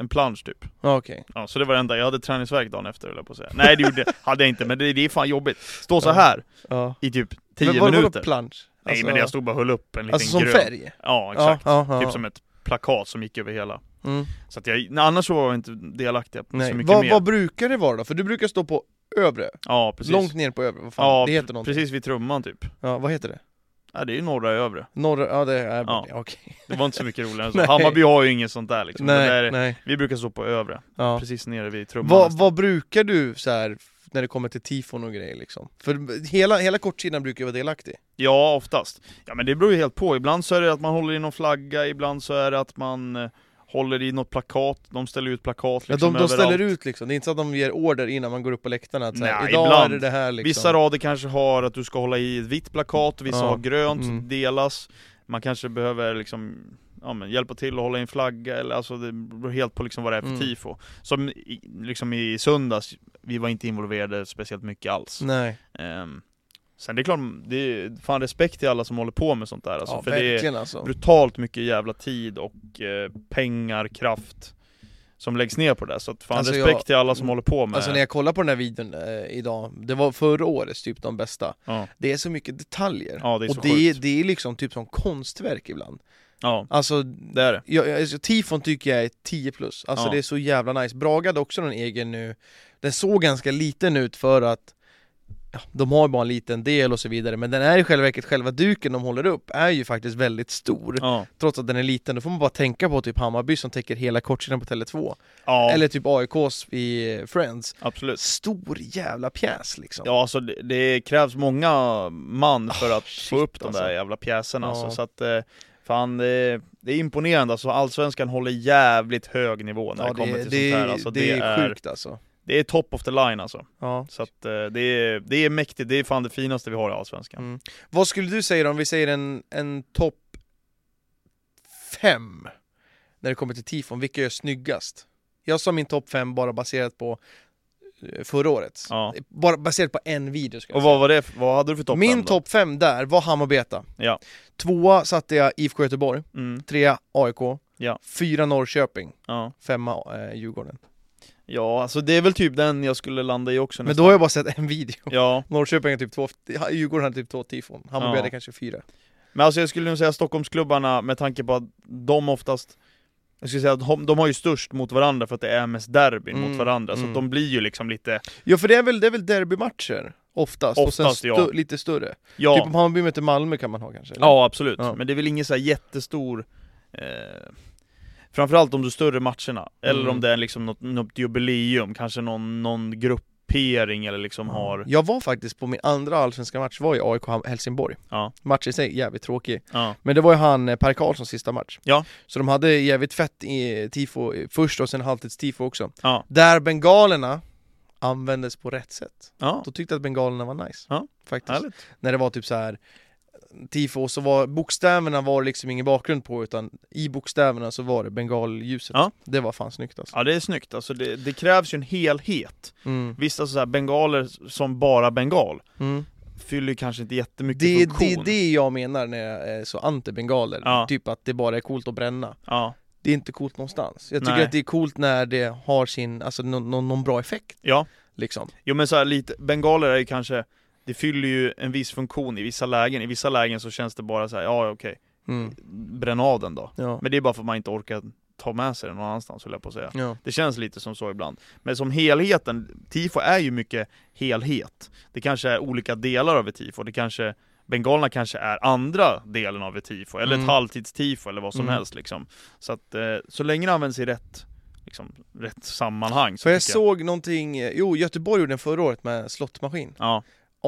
Speaker 1: en plansch typ.
Speaker 2: Ja, okej.
Speaker 1: Ja, så det var det enda. Jag hade träningsvärk dagen efter höll jag på att säga. Nej det gjorde jag, hade jag inte, men det, det är fan jobbigt. Stå så
Speaker 2: Ja.
Speaker 1: här
Speaker 2: Ja.
Speaker 1: i typ 10
Speaker 2: men, vad- vadå
Speaker 1: minuter.
Speaker 2: plansch?
Speaker 1: Nej men jag stod bara och höll upp en liten
Speaker 2: Alltså som
Speaker 1: grön.
Speaker 2: färg?
Speaker 1: Ja, exakt.
Speaker 2: Ja, ja, ja.
Speaker 1: Typ som ett plakat som gick över hela.
Speaker 2: mm.
Speaker 1: Så att jag, nej, annars så var jag inte delaktig på så
Speaker 2: Nej.
Speaker 1: mycket
Speaker 2: Vad,
Speaker 1: mer.
Speaker 2: vad brukar det vara då? För du brukar stå på övre,
Speaker 1: ja, precis.
Speaker 2: långt ner på övre, vad fan,
Speaker 1: ja,
Speaker 2: det heter
Speaker 1: pre-
Speaker 2: någonting.
Speaker 1: precis vid trumman typ.
Speaker 2: Ja, vad heter det?
Speaker 1: Ja, det är ju norra övre.
Speaker 2: Norra, ja det är,
Speaker 1: Ja.
Speaker 2: ja. okej.
Speaker 1: Det var inte så mycket roligare än så.
Speaker 2: Nej.
Speaker 1: Hammarby har ju inget sånt där liksom. det där,
Speaker 2: Nej,
Speaker 1: är-
Speaker 2: nej.
Speaker 1: Vi brukar stå på övre,
Speaker 2: Ja.
Speaker 1: precis nere vid trumman.
Speaker 2: Vad,
Speaker 1: nästan.
Speaker 2: vad brukar du så här när det kommer till tifon och grejer liksom? För hela, hela kortsidan brukar ju vara delaktig.
Speaker 1: Ja, oftast. Ja men det beror ju helt på. Ibland så är det att man håller i någon flagga, ibland så är det att man eh, håller i något plakat. De ställer ut plakat
Speaker 2: Ja,
Speaker 1: liksom
Speaker 2: de, de ställer
Speaker 1: överallt.
Speaker 2: ut liksom, det är inte så att de ger order innan man går upp på läktarna att så här,
Speaker 1: Nej,
Speaker 2: idag
Speaker 1: ibland.
Speaker 2: är det det här liksom.
Speaker 1: Vissa rader kanske har att du ska hålla i ett vitt plakat, vissa
Speaker 2: Ja,
Speaker 1: har grönt, så
Speaker 2: mm.
Speaker 1: det delas. Man kanske behöver liksom Ja, men hjälpa till att hålla i en flagga, eller alltså det beror helt på liksom vad det är för
Speaker 2: Mm.
Speaker 1: tifo. Som i, liksom i söndags, vi var inte involverade speciellt mycket alls.
Speaker 2: Nej,
Speaker 1: Ehm, sen det är klart, det är fan respekt till alla som håller på med sånt där alltså,
Speaker 2: ja,
Speaker 1: för det är,
Speaker 2: verkligen alltså.
Speaker 1: brutalt mycket jävla tid och eh, pengar, kraft som läggs ner på det. Så att fan
Speaker 2: Alltså,
Speaker 1: respekt
Speaker 2: jag-
Speaker 1: till alla som håller på med
Speaker 2: Alltså när jag kollar på den här videon eh, idag, det var förra årets typ de bästa.
Speaker 1: ja.
Speaker 2: Det är så mycket detaljer.
Speaker 1: ja, det är
Speaker 2: och
Speaker 1: så
Speaker 2: det, är-
Speaker 1: sjukt.
Speaker 2: det är liksom typ som konstverk ibland.
Speaker 1: Ja,
Speaker 2: Alltså,
Speaker 1: det är det.
Speaker 2: jag, jag- alltså tifon tycker jag är 10 plus. Alltså
Speaker 1: Ja.
Speaker 2: det är så jävla nice. Braga hade också någon egen nu. Den såg ganska liten ut för att ja, de har bara en liten del och så vidare. Men den är i själva verket, själva duken de håller upp är ju faktiskt väldigt stor.
Speaker 1: Ja,
Speaker 2: Trots att den är liten, då får man bara tänka på typ Hammarby som täcker hela kortsidan på Tele2.
Speaker 1: ja
Speaker 2: Eller typ AIKs i eh, Friends.
Speaker 1: absolut.
Speaker 2: Stor jävla pjäs liksom.
Speaker 1: Ja, alltså det, det krävs många man för att få
Speaker 2: Ah, shit,
Speaker 1: upp de där
Speaker 2: alltså.
Speaker 1: jävla pjäserna.
Speaker 2: Ja.
Speaker 1: Alltså, så att, eh, fan, det, det är imponerande. Alltså, allsvenskan håller jävligt hög nivå när
Speaker 2: Ja,
Speaker 1: det kommer till
Speaker 2: det,
Speaker 1: sånt här. Alltså,
Speaker 2: det, är sjukt alltså.
Speaker 1: det är top of the line alltså.
Speaker 2: Ja.
Speaker 1: Så att, eh, det, är, det är mäktigt. Det är fan det finaste vi har i allsvenskan.
Speaker 2: Mm. Vad skulle du säga då, om vi säger en, en topp fem när det kommer till tifon, vilka är snyggast? Jag sa min topp fem bara baserat på eh, förra årets.
Speaker 1: Ja.
Speaker 2: Bara baserat på en video ska jag
Speaker 1: Och vad var det? för- Vad hade du för topp fem
Speaker 2: Min
Speaker 1: då?
Speaker 2: topp fem där var Hammarbeta.
Speaker 1: Ja.
Speaker 2: Tvåa satte jag IFK Göteborg,
Speaker 1: Mm,
Speaker 2: trea AIK,
Speaker 1: Ja.
Speaker 2: fyra Norrköping,
Speaker 1: ja.
Speaker 2: femma eh, Djurgården.
Speaker 1: ja, alltså det är väl typ den jag skulle landa i också
Speaker 2: Men
Speaker 1: nästan.
Speaker 2: då har jag bara sett en video.
Speaker 1: Ja,
Speaker 2: Norrköping hade typ två, Djurgården hade typ två tifon, Hammarby
Speaker 1: Ja.
Speaker 2: hade kanske fyra.
Speaker 1: men alltså jag skulle nog säga Stockholmsklubbarna med tanke på att de oftast jag skulle säga att de, de har ju störst mot varandra för att det är mest derbyn
Speaker 2: Mm,
Speaker 1: mot varandra, så
Speaker 2: mm.
Speaker 1: att de blir ju liksom lite...
Speaker 2: Ja för det är väl, det är väl derbymatcher oftast, och sen
Speaker 1: Oftast,
Speaker 2: stu-
Speaker 1: ja.
Speaker 2: lite större.
Speaker 1: Ja,
Speaker 2: Typ om Hammarby möter Malmö kan man ha kanske? eller?
Speaker 1: ja absolut.
Speaker 2: Ja.
Speaker 1: Men det är väl ingen så här jättestor... Eh, framförallt om du större matcherna, eller
Speaker 2: Mm.
Speaker 1: om det är liksom något, något jubileum, kanske någon, någon gruppering eller liksom har...
Speaker 2: Jag var faktiskt på min andra allsvenska match, var i AIK Ham- Helsingborg.
Speaker 1: Ja.
Speaker 2: Match i sig, jävligt tråkig.
Speaker 1: Ja,
Speaker 2: Men det var ju han eh, Per Karlssons sista match.
Speaker 1: Ja.
Speaker 2: Så de hade jävligt fett i tifo eh, först och sen halvtids-tifo också.
Speaker 1: Ja.
Speaker 2: Där bengalerna användes på rätt sätt.
Speaker 1: ja
Speaker 2: Då tyckte jag att bengalerna var nice.
Speaker 1: Ja.
Speaker 2: Faktiskt.
Speaker 1: härligt.
Speaker 2: När det var typ så här tifo och så var bokstäverna var liksom ingen bakgrund på utan i bokstäverna så var det bengalljuset.
Speaker 1: Ja.
Speaker 2: Det var fan snyggt alltså.
Speaker 1: Ja, det är snyggt. Alltså det, det krävs ju en helhet.
Speaker 2: Mm.
Speaker 1: Vissa så här bengaler som bara bengal
Speaker 2: Mm.
Speaker 1: fyller ju kanske inte jättemycket
Speaker 2: Det är
Speaker 1: funktion.
Speaker 2: det, det jag menar när jag är så anti-bengaler.
Speaker 1: Ja.
Speaker 2: Typ att det bara är coolt att bränna.
Speaker 1: Ja,
Speaker 2: Det är inte coolt någonstans. Jag tycker
Speaker 1: Nej.
Speaker 2: att det är coolt när det har sin, alltså någon, någon, någon bra effekt.
Speaker 1: ja.
Speaker 2: Liksom.
Speaker 1: Jo men så här, lite, bengaler är ju kanske, det fyller ju en viss funktion i vissa lägen. I vissa lägen så känns det bara så här, ja okej,
Speaker 2: Mm.
Speaker 1: bränn av den då.
Speaker 2: Ja.
Speaker 1: Men det är bara för att man inte orkar ta med sig den någon annanstans höll jag på att säga.
Speaker 2: Ja.
Speaker 1: Det känns lite som så ibland. Men som helheten, tifo är ju mycket helhet. Det kanske är olika delar av ett tifo, det kanske Bengalerna kanske är andra delen av ett tifo, eller
Speaker 2: Mm.
Speaker 1: ett halvtidstifo eller vad som
Speaker 2: Mm.
Speaker 1: helst liksom. Så att, eh, så länge det används i rätt, liksom, rätt sammanhang så
Speaker 2: För jag
Speaker 1: tycker
Speaker 2: såg någonting, jo Göteborg gjorde den förra året med slottmaskin.
Speaker 1: jag. Ja,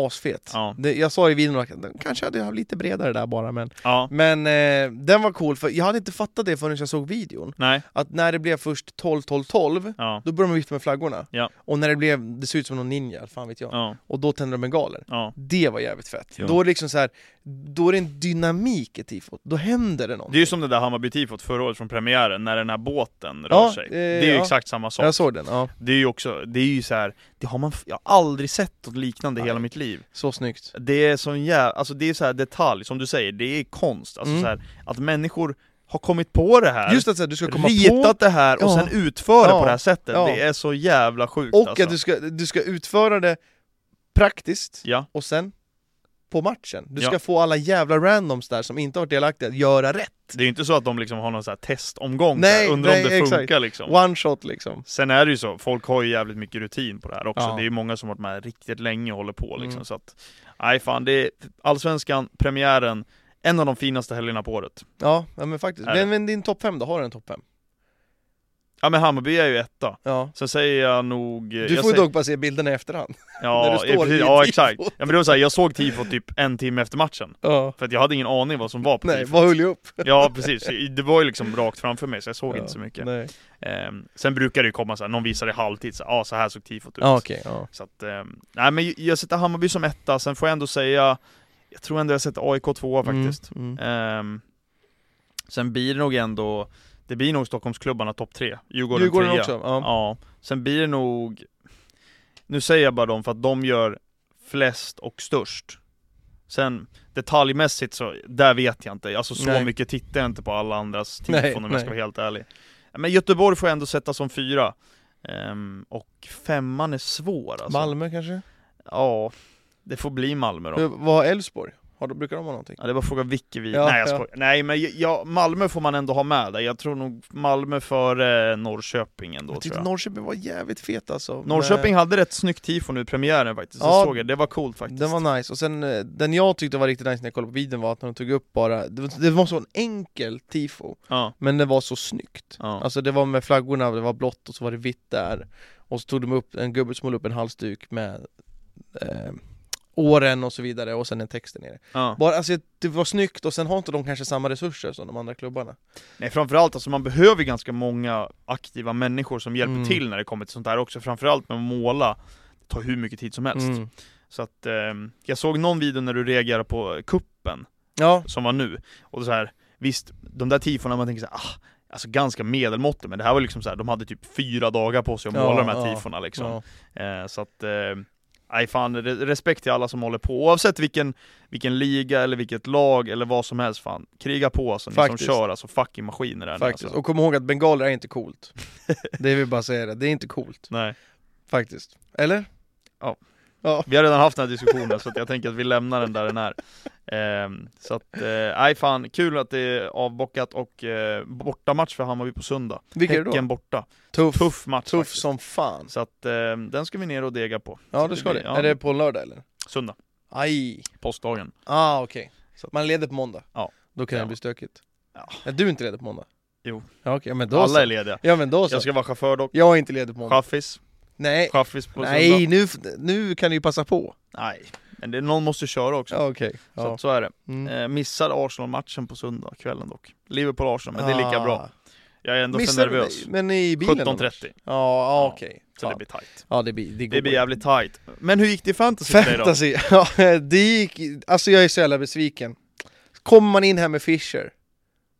Speaker 2: asfet.
Speaker 1: Ja.
Speaker 2: Det, jag sa i videon att den kanske hade jag haft lite bredare där bara men
Speaker 1: Ja,
Speaker 2: Men eh, den var cool, för jag hade inte fattat det förrän jag såg videon
Speaker 1: nej,
Speaker 2: Att när det blev först 12-12-12
Speaker 1: ja,
Speaker 2: Då började de vifta med flaggorna
Speaker 1: Ja.
Speaker 2: Och när det blev, det såg ut som någon ninja, fan vet jag
Speaker 1: ja,
Speaker 2: Och då tände de bengaler
Speaker 1: ja,
Speaker 2: Det var jävligt fett
Speaker 1: Ja.
Speaker 2: Då är det liksom så här, Då är det en dynamik i tifot, då händer det
Speaker 1: Det är
Speaker 2: någonting
Speaker 1: ju som det där Hammarby-tifot förra året från premiären, när den här båten rör
Speaker 2: Ja,
Speaker 1: sig
Speaker 2: eh,
Speaker 1: Det är ju
Speaker 2: ja.
Speaker 1: exakt samma sak
Speaker 2: Jag såg den, ja,
Speaker 1: Det är ju också, det är ju så här, det har man, f- jag har aldrig sett något liknande i hela
Speaker 2: Nej.
Speaker 1: mitt liv
Speaker 2: så snyggt
Speaker 1: Det är sån jävla, alltså det är så här detalj, som du säger, det är konst, alltså
Speaker 2: Mm.
Speaker 1: så här, att människor har kommit på det här
Speaker 2: Just att så här, du ska komma på
Speaker 1: ritat det här och
Speaker 2: Ja.
Speaker 1: sen utför det
Speaker 2: Ja.
Speaker 1: på det här sättet,
Speaker 2: Ja.
Speaker 1: det är så jävla sjukt
Speaker 2: och
Speaker 1: alltså.
Speaker 2: att du ska, du ska utföra det praktiskt
Speaker 1: Ja,
Speaker 2: och sen på matchen Du
Speaker 1: Ja.
Speaker 2: ska få alla jävla randoms där som inte har varit delaktiga att göra rätt
Speaker 1: det är ju inte så att de liksom har någon så här testomgång,
Speaker 2: Nej,
Speaker 1: så här, undrar
Speaker 2: nej,
Speaker 1: om det funkar
Speaker 2: exakt.
Speaker 1: liksom
Speaker 2: One shot liksom
Speaker 1: Sen är det ju så, folk har ju jävligt mycket rutin på det här också,
Speaker 2: Ja.
Speaker 1: det är ju många som har varit med riktigt länge och håller på liksom
Speaker 2: Mm.
Speaker 1: så att Nej fan, det är Allsvenskan, premiären, en av de finaste helgerna på året
Speaker 2: Ja, ja men faktiskt.
Speaker 1: Är det?
Speaker 2: Men, men din topp 5 då, har du en topp 5?
Speaker 1: Ja men Hammarby är ju etta,
Speaker 2: Ja.
Speaker 1: sen säger jag nog eh,
Speaker 2: Du
Speaker 1: jag
Speaker 2: får
Speaker 1: säger,
Speaker 2: ju dock bara se bilderna i efterhand. när du
Speaker 1: ja,
Speaker 2: står
Speaker 1: ja, precis,
Speaker 2: i
Speaker 1: ja
Speaker 2: tifot.
Speaker 1: exakt, ja, men det var så här, jag såg tifo typ en timme efter matchen
Speaker 2: Ja.
Speaker 1: För att jag hade ingen aning vad som var på
Speaker 2: Nej,
Speaker 1: tifo
Speaker 2: vad höll jag upp?
Speaker 1: Ja precis, det var ju liksom rakt framför mig så jag såg
Speaker 2: Ja,
Speaker 1: inte så mycket
Speaker 2: Nej.
Speaker 1: Ehm, Sen brukar det ju komma så här, någon visar i halvtid, så, här, ah, så här såg tifot ut
Speaker 2: Ja, okej. ja.
Speaker 1: Så att, eh, nej men jag sätter Hammarby som etta, sen får jag ändå säga Jag tror ändå jag sätter AIK tvåa faktiskt
Speaker 2: Mm, mm.
Speaker 1: Ehm, Sen blir det nog ändå Det blir nog Stockholmsklubbarna topp tre, Djurgården,
Speaker 2: Djurgården
Speaker 1: trea
Speaker 2: också?
Speaker 1: ja.
Speaker 2: Ja.
Speaker 1: sen blir det nog Nu säger jag bara dem för att de gör flest och störst Sen detaljmässigt så, där vet jag inte, alltså så
Speaker 2: Nej.
Speaker 1: mycket tittar jag inte på alla andras
Speaker 2: Nej,
Speaker 1: tifon om jag ska
Speaker 2: nej.
Speaker 1: vara helt ärlig Men Göteborg får jag ändå sätta som fyra Ehm, Och femman är svår alltså.
Speaker 2: Malmö kanske?
Speaker 1: Ja, det får bli Malmö då.
Speaker 2: Hur, vad har Elfsborg? Har de, brukar de ha någonting?
Speaker 1: Ja, det var fråga vilket vi...
Speaker 2: Ja,
Speaker 1: Nej, jag
Speaker 2: ja.
Speaker 1: skojar. Nej, men jag- jag, Malmö får man ändå ha med där. Jag tror nog Malmö före Norrköping ändå,
Speaker 2: Jag
Speaker 1: tror
Speaker 2: tyckte
Speaker 1: jag.
Speaker 2: Norrköping var jävligt fet alltså.
Speaker 1: Norrköping
Speaker 2: Men-
Speaker 1: hade rätt snyggt tifo nu i premiären faktiskt,
Speaker 2: Ja,
Speaker 1: jag såg det. Det var coolt faktiskt.
Speaker 2: Den var nice, och sen eh, den jag tyckte var riktigt nice när jag kollade på videon var att när de tog upp bara Det var, det var så en enkel tifo,
Speaker 1: Ja,
Speaker 2: men det var så snyggt
Speaker 1: ja.
Speaker 2: Alltså det var med flaggorna, det var blått och så var det vitt där Och så tog de upp, en gubbe som höll upp en halsduk med eh, åren och så vidare och sen en texten nere
Speaker 1: ja.
Speaker 2: Bara, alltså det var snyggt och sen har inte de kanske samma resurser som de andra klubbarna
Speaker 1: Nej, framförallt, alltså man behöver ganska många aktiva människor som hjälper
Speaker 2: Mm.
Speaker 1: till när det kommer till sånt här också. Framförallt med att måla. Det tar hur mycket tid som helst.
Speaker 2: Mm.
Speaker 1: Så att, ehm, jag såg någon video när du reagerade på kuppen.
Speaker 2: Ja,
Speaker 1: som var nu. Och så här, visst, de där tifona, man tänker så här, ah, alltså ganska medelmåttig, men det här var liksom så här, de hade typ fyra dagar på sig att
Speaker 2: Ja,
Speaker 1: måla de här
Speaker 2: ja,
Speaker 1: tifona liksom.
Speaker 2: ja.
Speaker 1: Eh, så att, eh, nej fan, re- respekt till alla som håller på, oavsett vilken, vilken liga eller vilket lag eller vad som helst fan, kriga på alltså, ni
Speaker 2: Faktiskt.
Speaker 1: som kör alltså, fucking maskiner där nu,
Speaker 2: faktiskt.
Speaker 1: alltså.
Speaker 2: Och kom ihåg att bengaler är inte coolt Det vill jag bara säga det, det är inte coolt
Speaker 1: Nej.
Speaker 2: faktiskt Eller?
Speaker 1: Vi har redan haft den här diskussionen så att jag tänker att vi lämnar den där den är. Ehm, så att, eh, nej fan, kul att det är avbockat och eh, bortamatch för Hammarby på söndag.
Speaker 2: Vilka är det då?
Speaker 1: Häcken borta.
Speaker 2: Tuff, tuff,
Speaker 1: Tuff match faktiskt.
Speaker 2: som fan
Speaker 1: Så att eh, den ska vi ner och dega på.
Speaker 2: Ja
Speaker 1: det
Speaker 2: det ska det,
Speaker 1: blir- ja.
Speaker 2: är det på lördag eller?
Speaker 1: Söndag,
Speaker 2: Aj,
Speaker 1: postdagen.
Speaker 2: ah okej
Speaker 1: Så-
Speaker 2: Man leder på måndag?
Speaker 1: Ja.
Speaker 2: Då kan
Speaker 1: Ja.
Speaker 2: det bli stökigt
Speaker 1: Ja.
Speaker 2: Är du inte ledig på måndag?
Speaker 1: Jo.
Speaker 2: Ja, okej, men då
Speaker 1: Alla
Speaker 2: så.
Speaker 1: är lediga.
Speaker 2: Ja men då så.
Speaker 1: Jag
Speaker 2: Jag,
Speaker 1: ska vara chaufför dock.
Speaker 2: är inte ledig på måndag.
Speaker 1: Chaffis.
Speaker 2: Nej,
Speaker 1: Chaffis på
Speaker 2: nej
Speaker 1: söndag.
Speaker 2: nu, nu kan du ju passa på.
Speaker 1: Nej. Men det, någon måste köra också.
Speaker 2: Ja, okej.
Speaker 1: Så,
Speaker 2: Ja.
Speaker 1: att så är det.
Speaker 2: Mm.
Speaker 1: Eh, missar Arsenal-matchen på söndag kvällen dock. Liverpool-Arsenal, men det är lika
Speaker 2: Ah.
Speaker 1: bra. Jag är ändå
Speaker 2: Missar
Speaker 1: för
Speaker 2: du-
Speaker 1: nervös.
Speaker 2: Men i bilen
Speaker 1: 17.30,
Speaker 2: Ja, ja, okej.
Speaker 1: så det
Speaker 2: Ja.
Speaker 1: blir tight.
Speaker 2: Ja det blir, det går.
Speaker 1: Det blir jävligt tight. Men hur gick det i fantasy för dig då?
Speaker 2: Fantasy, ja det gick, alltså jag är så jävla besviken. Kommer man in här med Fischer,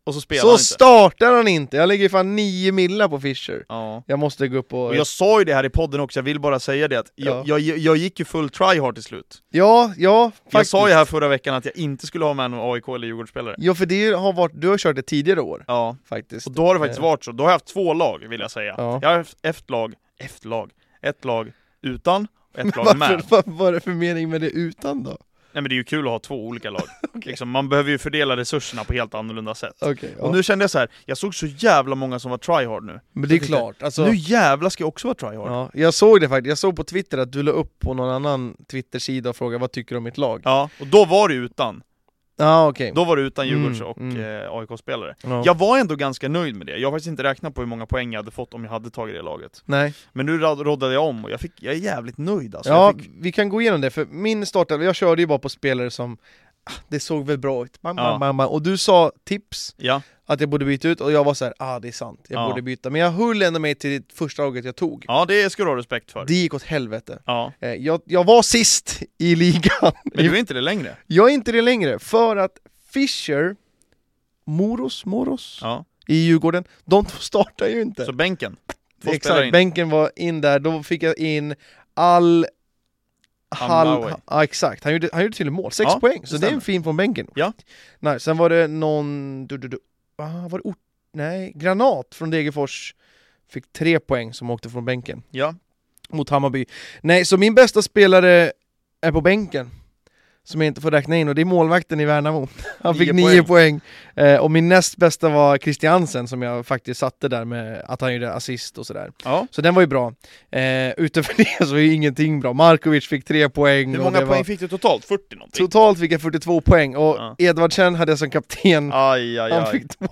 Speaker 1: Och så spelar
Speaker 2: så
Speaker 1: han inte.
Speaker 2: startar han inte! Jag lägger fan 9 millar på Fischer.
Speaker 1: Ja.
Speaker 2: Jag måste gå upp och...
Speaker 1: Och jag sa ju det här i podden också, jag vill bara säga det att jag, jag, jag gick ju full tryhard till slut.
Speaker 2: Ja, ja, faktiskt.
Speaker 1: Jag sa ju här förra veckan att jag inte skulle ha med någon AIK eller Djurgårdsspelare.
Speaker 2: Ja för det har varit, du har kört det tidigare år,
Speaker 1: Ja,
Speaker 2: faktiskt.
Speaker 1: och då har det faktiskt
Speaker 2: Eh.
Speaker 1: varit så. Då har jag haft två lag, vill jag säga.
Speaker 2: Ja.
Speaker 1: Jag har haft ett lag, ett lag, ett lag utan och ett lag med.
Speaker 2: Varför, vad var det för mening med det utan då?
Speaker 1: Nej men det är ju kul att ha två olika lag. liksom, man behöver ju fördela resurserna på helt annorlunda sätt.
Speaker 2: Okej, ja.
Speaker 1: Och nu kände jag så här, jag såg så jävla många som var tryhard nu.
Speaker 2: men det
Speaker 1: jag
Speaker 2: är
Speaker 1: tänkte,
Speaker 2: klart, alltså,
Speaker 1: Nu jävla ska jag också vara tryhard.
Speaker 2: ja, jag såg det faktiskt, jag såg på Twitter att du la upp på någon annan Twitter-sida och frågade vad tycker du om mitt lag?
Speaker 1: Ja, och då var det utan.
Speaker 2: Ja okej.
Speaker 1: Då var det utan
Speaker 2: Mm,
Speaker 1: Djurgårds och
Speaker 2: mm.
Speaker 1: eh, AIK-spelare.
Speaker 2: Ja.
Speaker 1: Jag var ändå ganska nöjd med det, jag har faktiskt inte räknat på hur många poäng jag hade fått om jag hade tagit det laget.
Speaker 2: Nej.
Speaker 1: Men nu rad- roddade jag om och jag, fick, jag är jävligt nöjd alltså.
Speaker 2: ja,
Speaker 1: jag fick,
Speaker 2: vi kan gå igenom det, för min startelva, jag körde ju bara på spelare som ah, det såg väl bra ut, bam, bam,
Speaker 1: Ja.
Speaker 2: bam, bam. och du sa tips
Speaker 1: ja,
Speaker 2: att jag borde byta ut och jag var så här, ah det är sant, jag
Speaker 1: Ja.
Speaker 2: borde byta Men jag höll ändå mig till det första laget jag tog
Speaker 1: ja, det ska du ha respekt för.
Speaker 2: Det gick åt helvete
Speaker 1: Ja.
Speaker 2: eh, jag, jag var sist i ligan
Speaker 1: Men du är inte det längre?
Speaker 2: Jag är inte det längre, för att Fischer, Moros, Moros
Speaker 1: Ja.
Speaker 2: i Djurgården, de två startar ju inte
Speaker 1: Så bänken? Två spelare
Speaker 2: Exakt,
Speaker 1: in.
Speaker 2: bänken var in där, då fick jag in all... Hall,
Speaker 1: Hamlaoui.
Speaker 2: ja, exakt, han gjorde, han gjorde till och med mål, sex
Speaker 1: Ja,
Speaker 2: poäng, så
Speaker 1: det
Speaker 2: det är en
Speaker 1: stämmer.
Speaker 2: fin från bänken.
Speaker 1: Ja.
Speaker 2: Nej, sen var det någon... Du, du, du, ah, var det Ort, nej, Granat från Degerfors fick tre poäng som åkte från bänken
Speaker 1: Ja.
Speaker 2: mot Hammarby. Nej, så min bästa spelare är på bänken, som jag inte får räkna in, och det är målvakten i Värnamo. Han fick
Speaker 1: Nio
Speaker 2: nio poäng. Eh, och min näst bästa var Christiansen, som jag faktiskt satte där med att han gjorde assist och sådär.
Speaker 1: ja.
Speaker 2: Så den var ju bra. Eh, utöver det så var ju ingenting bra. Markovic fick tre poäng.
Speaker 1: Hur
Speaker 2: och
Speaker 1: många
Speaker 2: det var-
Speaker 1: poäng fick du totalt? 40 någonting?
Speaker 2: Totalt fick jag 42 poäng och
Speaker 1: Ja.
Speaker 2: Edvardsen hade jag som kapten.
Speaker 1: Aj, aj,
Speaker 2: Han
Speaker 1: aj.
Speaker 2: fick två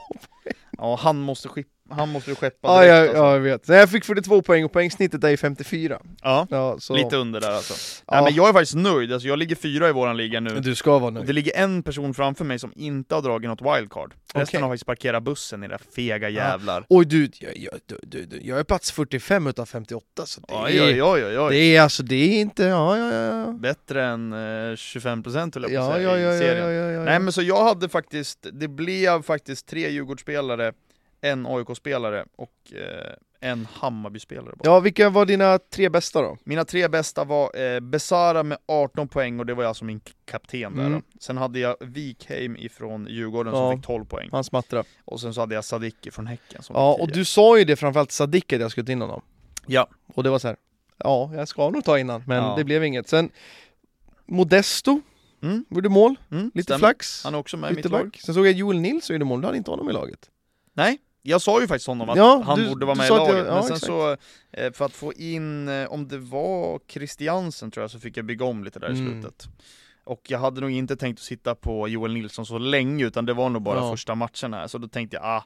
Speaker 1: Ja, han måste, skip- han måste du skeppa
Speaker 2: ja,
Speaker 1: direkt
Speaker 2: ja,
Speaker 1: alltså.
Speaker 2: ja, jag vet. Nej, jag fick 42 poäng och poängsnittet är ju 54.
Speaker 1: Ja,
Speaker 2: Ja, så...
Speaker 1: lite under där alltså.
Speaker 2: Ja.
Speaker 1: Nej, men jag är faktiskt nöjd, alltså, jag ligger fyra i våran liga nu.
Speaker 2: Du ska vara
Speaker 1: Och
Speaker 2: nöjd.
Speaker 1: det ligger en person framför mig som inte har dragit något wildcard.
Speaker 2: Okej.
Speaker 1: Resten har faktiskt parkerat bussen i det där fega jävlar.
Speaker 2: Oj du, jag, jag, du, du, du, jag är plats 45 utav 58 så det,
Speaker 1: Oj,
Speaker 2: är,
Speaker 1: oj, oj, oj, oj.
Speaker 2: det är alltså, det är inte, ja ja ja.
Speaker 1: Bättre än eh, 25% höll jag på att
Speaker 2: Ja
Speaker 1: säga
Speaker 2: ja ja, ja,
Speaker 1: i
Speaker 2: ja,
Speaker 1: serien.
Speaker 2: ja, ja, ja.
Speaker 1: Nej men så jag hade faktiskt, det blev faktiskt tre Djurgårdsspelare, en AIK-spelare och eh, en Hammarby-spelare bara.
Speaker 2: ja, vilka var dina tre bästa då?
Speaker 1: Mina tre bästa var eh, Besara med 18 poäng och det var jag som min k- kapten där
Speaker 2: Mm.
Speaker 1: då. Sen hade jag Wikheim ifrån Djurgården
Speaker 2: Ja.
Speaker 1: som fick 12 poäng.
Speaker 2: Han smattrade.
Speaker 1: Och sen så hade jag Sadiki från Häcken som
Speaker 2: Ja,
Speaker 1: fick 10.
Speaker 2: och du sa ju det framförallt till Sadiq att jag skulle ta in honom.
Speaker 1: Ja.
Speaker 2: Och det var så här. ja, jag ska nog ta innan, men
Speaker 1: Ja.
Speaker 2: det blev inget. Sen Modesto
Speaker 1: Mm,
Speaker 2: gjorde mål,
Speaker 1: mm,
Speaker 2: lite
Speaker 1: stämmer.
Speaker 2: flax,
Speaker 1: Han är också med i mitt lag.
Speaker 2: ytterback. Sen såg jag Joel Nilsson gjorde mål, du hade inte honom i laget.
Speaker 1: Jag sa ju faktiskt honom att
Speaker 2: Ja,
Speaker 1: han
Speaker 2: du-
Speaker 1: borde vara
Speaker 2: du
Speaker 1: med i
Speaker 2: sa att jag-
Speaker 1: laget,
Speaker 2: ja,
Speaker 1: men sen så, eh, för att få in, eh, om det var Christiansen tror jag, så fick jag bygga om lite där i
Speaker 2: Mm.
Speaker 1: slutet. Och jag hade nog inte tänkt att sitta på Joel Nilsson så länge, utan det var nog bara
Speaker 2: Ja.
Speaker 1: första matchen här, så då tänkte jag ah,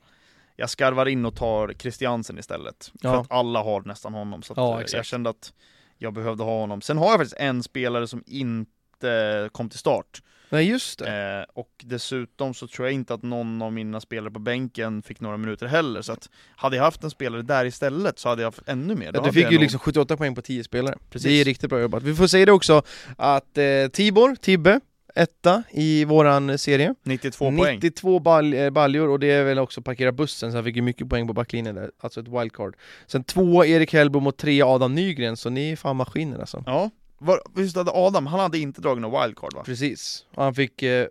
Speaker 1: jag skarvar in och tar Christiansen istället. För
Speaker 2: Ja.
Speaker 1: att alla har nästan honom, så att,
Speaker 2: Ja,
Speaker 1: eh, jag
Speaker 2: exakt.
Speaker 1: kände att jag behövde ha honom. Sen har jag faktiskt en spelare som inte kom till start.
Speaker 2: Nej just det.
Speaker 1: Eh, och dessutom så tror jag inte att någon av mina spelare på bänken fick några minuter heller, så att hade jag haft en spelare där istället så hade jag haft ännu mer. Då
Speaker 2: Ja, du
Speaker 1: hade
Speaker 2: fick
Speaker 1: jag
Speaker 2: ju
Speaker 1: nog-
Speaker 2: liksom 78 poäng på 10 spelare.
Speaker 1: Precis.
Speaker 2: Det är riktigt bra jobbat. Vi får säga det också att eh, Tibor, Tibbe, etta i våran serie.
Speaker 1: 92 poäng.
Speaker 2: 92 bal- eh, baljor och det är väl också parkera bussen så han fick ju mycket poäng på backlinjen där, alltså ett wildcard. Sen två Erik Hellbom och tre Adam Nygren, så ni är fan maskiner alltså.
Speaker 1: Ja. Var, visst hade Adam, han hade inte dragit någon wildcard va?
Speaker 2: Precis, och han fick eh,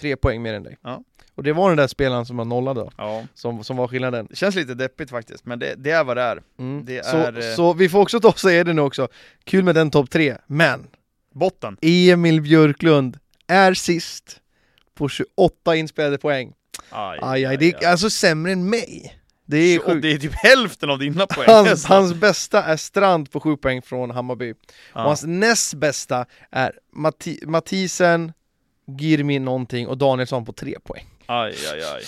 Speaker 2: tre poäng mer än dig.
Speaker 1: Ja.
Speaker 2: Och det var den där spelaren som man nollade då,
Speaker 1: Ja.
Speaker 2: som, som var skillnaden.
Speaker 1: Det känns lite deppigt faktiskt, men det, det är vad det är.
Speaker 2: Mm.
Speaker 1: Det
Speaker 2: så,
Speaker 1: är, eh,
Speaker 2: så vi får också ta säga det nu också, kul med den topp tre, men
Speaker 1: Botten.
Speaker 2: Emil Björklund är sist på 28 inspelade poäng.
Speaker 1: Aj,
Speaker 2: Aj, aj, det är alltså sämre än mig. Det är
Speaker 1: Och
Speaker 2: sjukt.
Speaker 1: det är typ hälften av dina poäng.
Speaker 2: Hans, hans bästa är Strand på 7 poäng från Hammarby. Och
Speaker 1: ja.
Speaker 2: hans näst bästa är Matti Mathisen, Girmi någonting och Danielsson på 3 poäng.
Speaker 1: aj, aj, aj.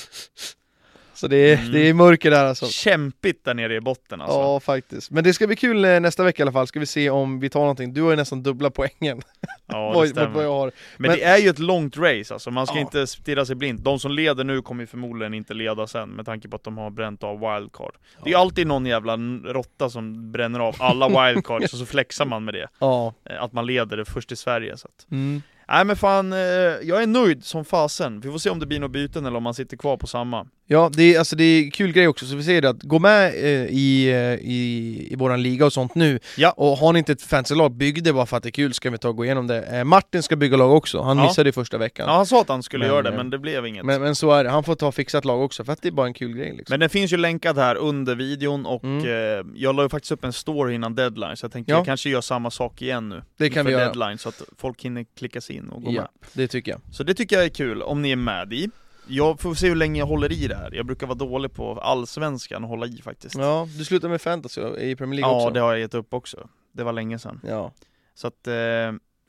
Speaker 2: Så det är,
Speaker 1: Mm.
Speaker 2: det är mörker där alltså.
Speaker 1: Kämpigt där nere i botten alltså.
Speaker 2: Ja, faktiskt. Men det ska bli kul eh, nästa vecka i alla fall, ska vi se om vi tar någonting. Du har ju nästan dubbla poängen
Speaker 1: ja det
Speaker 2: mot vad
Speaker 1: stämmer.
Speaker 2: jag har.
Speaker 1: Men,
Speaker 2: Men-
Speaker 1: det är ju ett långt race alltså, man ska
Speaker 2: Ja.
Speaker 1: inte stirra sig blind. De som leder nu kommer ju förmodligen inte leda sen med tanke på att de har bränt av wildcard. Det är ju alltid någon jävla n- råtta som bränner av alla wildcards och så flexar man med det.
Speaker 2: Ja.
Speaker 1: Eh, Att man leder det först i Sverige så att.
Speaker 2: Mm.
Speaker 1: Nej men fan, eh, jag är nöjd som fasen. Vi får se om det blir några byten eller om man sitter kvar på samma.
Speaker 2: Ja, det är, alltså, det är kul grej också, så vi säger det att gå med eh, i, eh, i, i våran liga och sånt nu.
Speaker 1: Ja.
Speaker 2: Och har ni inte ett fantasylag, bygg det bara för att det är kul, ska vi ta och gå igenom det. Eh, Martin ska bygga lag också, han
Speaker 1: Ja.
Speaker 2: missade ju första veckan.
Speaker 1: Ja han sa att han skulle
Speaker 2: Men,
Speaker 1: göra det
Speaker 2: eh,
Speaker 1: men det blev inget.
Speaker 2: Men,
Speaker 1: Men,
Speaker 2: men så är det, han får ta och fixa ett lag också, för att det är bara en kul grej liksom.
Speaker 1: den finns ju länkad här under videon och
Speaker 2: Mm.
Speaker 1: eh, jag la ju faktiskt upp en story innan deadline så jag tänkte
Speaker 2: Ja.
Speaker 1: jag kanske gör samma sak igen nu.
Speaker 2: det kan
Speaker 1: för
Speaker 2: vi göra,
Speaker 1: deadline så att folk hinner klicka sig in och gå
Speaker 2: Ja.
Speaker 1: med.
Speaker 2: det tycker jag.
Speaker 1: Så det tycker jag är kul om ni är med i. Jag får se hur länge jag håller i det här. Jag brukar vara dålig på allsvenskan och hålla i faktiskt.
Speaker 2: Ja, du slutar med fantasy i Premier League
Speaker 1: Ja,
Speaker 2: också.
Speaker 1: det har jag gett upp också. Det var länge sedan.
Speaker 2: Ja,
Speaker 1: Så att eh,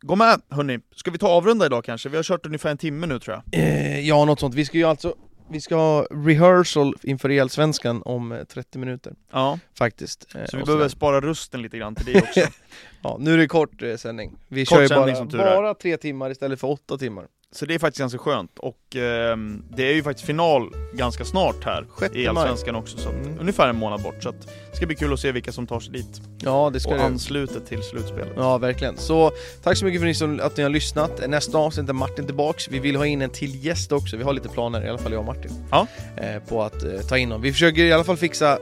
Speaker 1: Gå med hörni, ska vi ta avrunda idag kanske? Vi har kört ungefär en timme nu tror jag.
Speaker 2: Eh, ja, något sånt. Vi ska ju alltså vi ska ha rehearsal inför Elsvenskan om eh, 30 minuter
Speaker 1: Ja,
Speaker 2: faktiskt. Eh,
Speaker 1: så vi
Speaker 2: och
Speaker 1: behöver
Speaker 2: sådär.
Speaker 1: spara rusten lite grann till dig också.
Speaker 2: Ja, nu är det kort eh, sändning. Vi
Speaker 1: Kort
Speaker 2: kör ju
Speaker 1: sändning
Speaker 2: bara,
Speaker 1: som tur är.
Speaker 2: bara tre timmar istället för åtta timmar.
Speaker 1: Så det är faktiskt ganska skönt och ehm, det är ju faktiskt final ganska snart här
Speaker 2: Sjätte
Speaker 1: i
Speaker 2: maj.
Speaker 1: Allsvenskan också, så att
Speaker 2: Mm.
Speaker 1: ungefär en månad bort. Så att det ska bli kul att se vilka som tar sig dit
Speaker 2: Ja, det ska
Speaker 1: och
Speaker 2: det.
Speaker 1: ansluter till slutspelet.
Speaker 2: Ja, verkligen. Så tack så mycket för ni som, att ni har lyssnat. Nästa avsnitt är Martin tillbaks. Vi vill ha in en till gäst också. Vi har lite planer, i alla fall jag och Martin,
Speaker 1: Ja.
Speaker 2: eh, på att eh, ta in någon. Vi försöker i alla fall fixa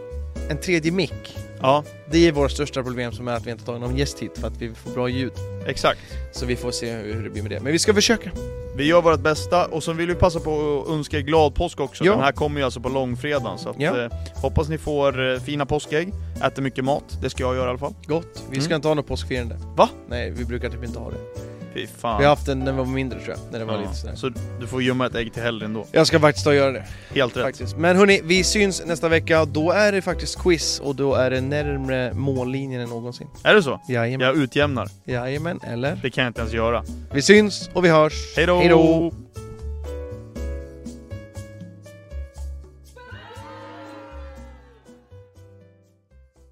Speaker 2: en tredje mick.
Speaker 1: Ja,
Speaker 2: Det är vårt största problem som är att vi inte tagit någon gäst hit för att vi får bra ljud.
Speaker 1: exakt.
Speaker 2: Så vi får se hur, hur det blir med det. Men vi ska försöka.
Speaker 1: Vi gör vårt bästa och så vill vi passa på att önska er glad påsk också.
Speaker 2: Ja.
Speaker 1: Den här kommer ju alltså på långfredagen så att,
Speaker 2: Ja.
Speaker 1: eh, hoppas ni får eh, fina påskägg, äter mycket mat, det ska jag göra i alla fall.
Speaker 2: Gott. Vi ska
Speaker 1: Mm.
Speaker 2: inte ha något påskfirande.
Speaker 1: Va?
Speaker 2: Nej, vi brukar typ inte ha det.
Speaker 1: Fy fan.
Speaker 2: Vi har haft en när vi var mindre tror jag, när det var lite sådär.
Speaker 1: Så du får gömma ett ägg till helgen då.
Speaker 2: Jag ska faktiskt ta och göra det.
Speaker 1: Helt rätt.
Speaker 2: Faktiskt. Men hörni, vi syns nästa vecka. Då är det faktiskt quiz och då är det närmre mållinjen än någonsin.
Speaker 1: Är det så?
Speaker 2: Jajamän.
Speaker 1: Jag utjämnar.
Speaker 2: Jajamän, eller?
Speaker 1: Det kan jag inte ens göra.
Speaker 2: Vi syns och vi hörs.
Speaker 1: Hej då!
Speaker 2: Hej då!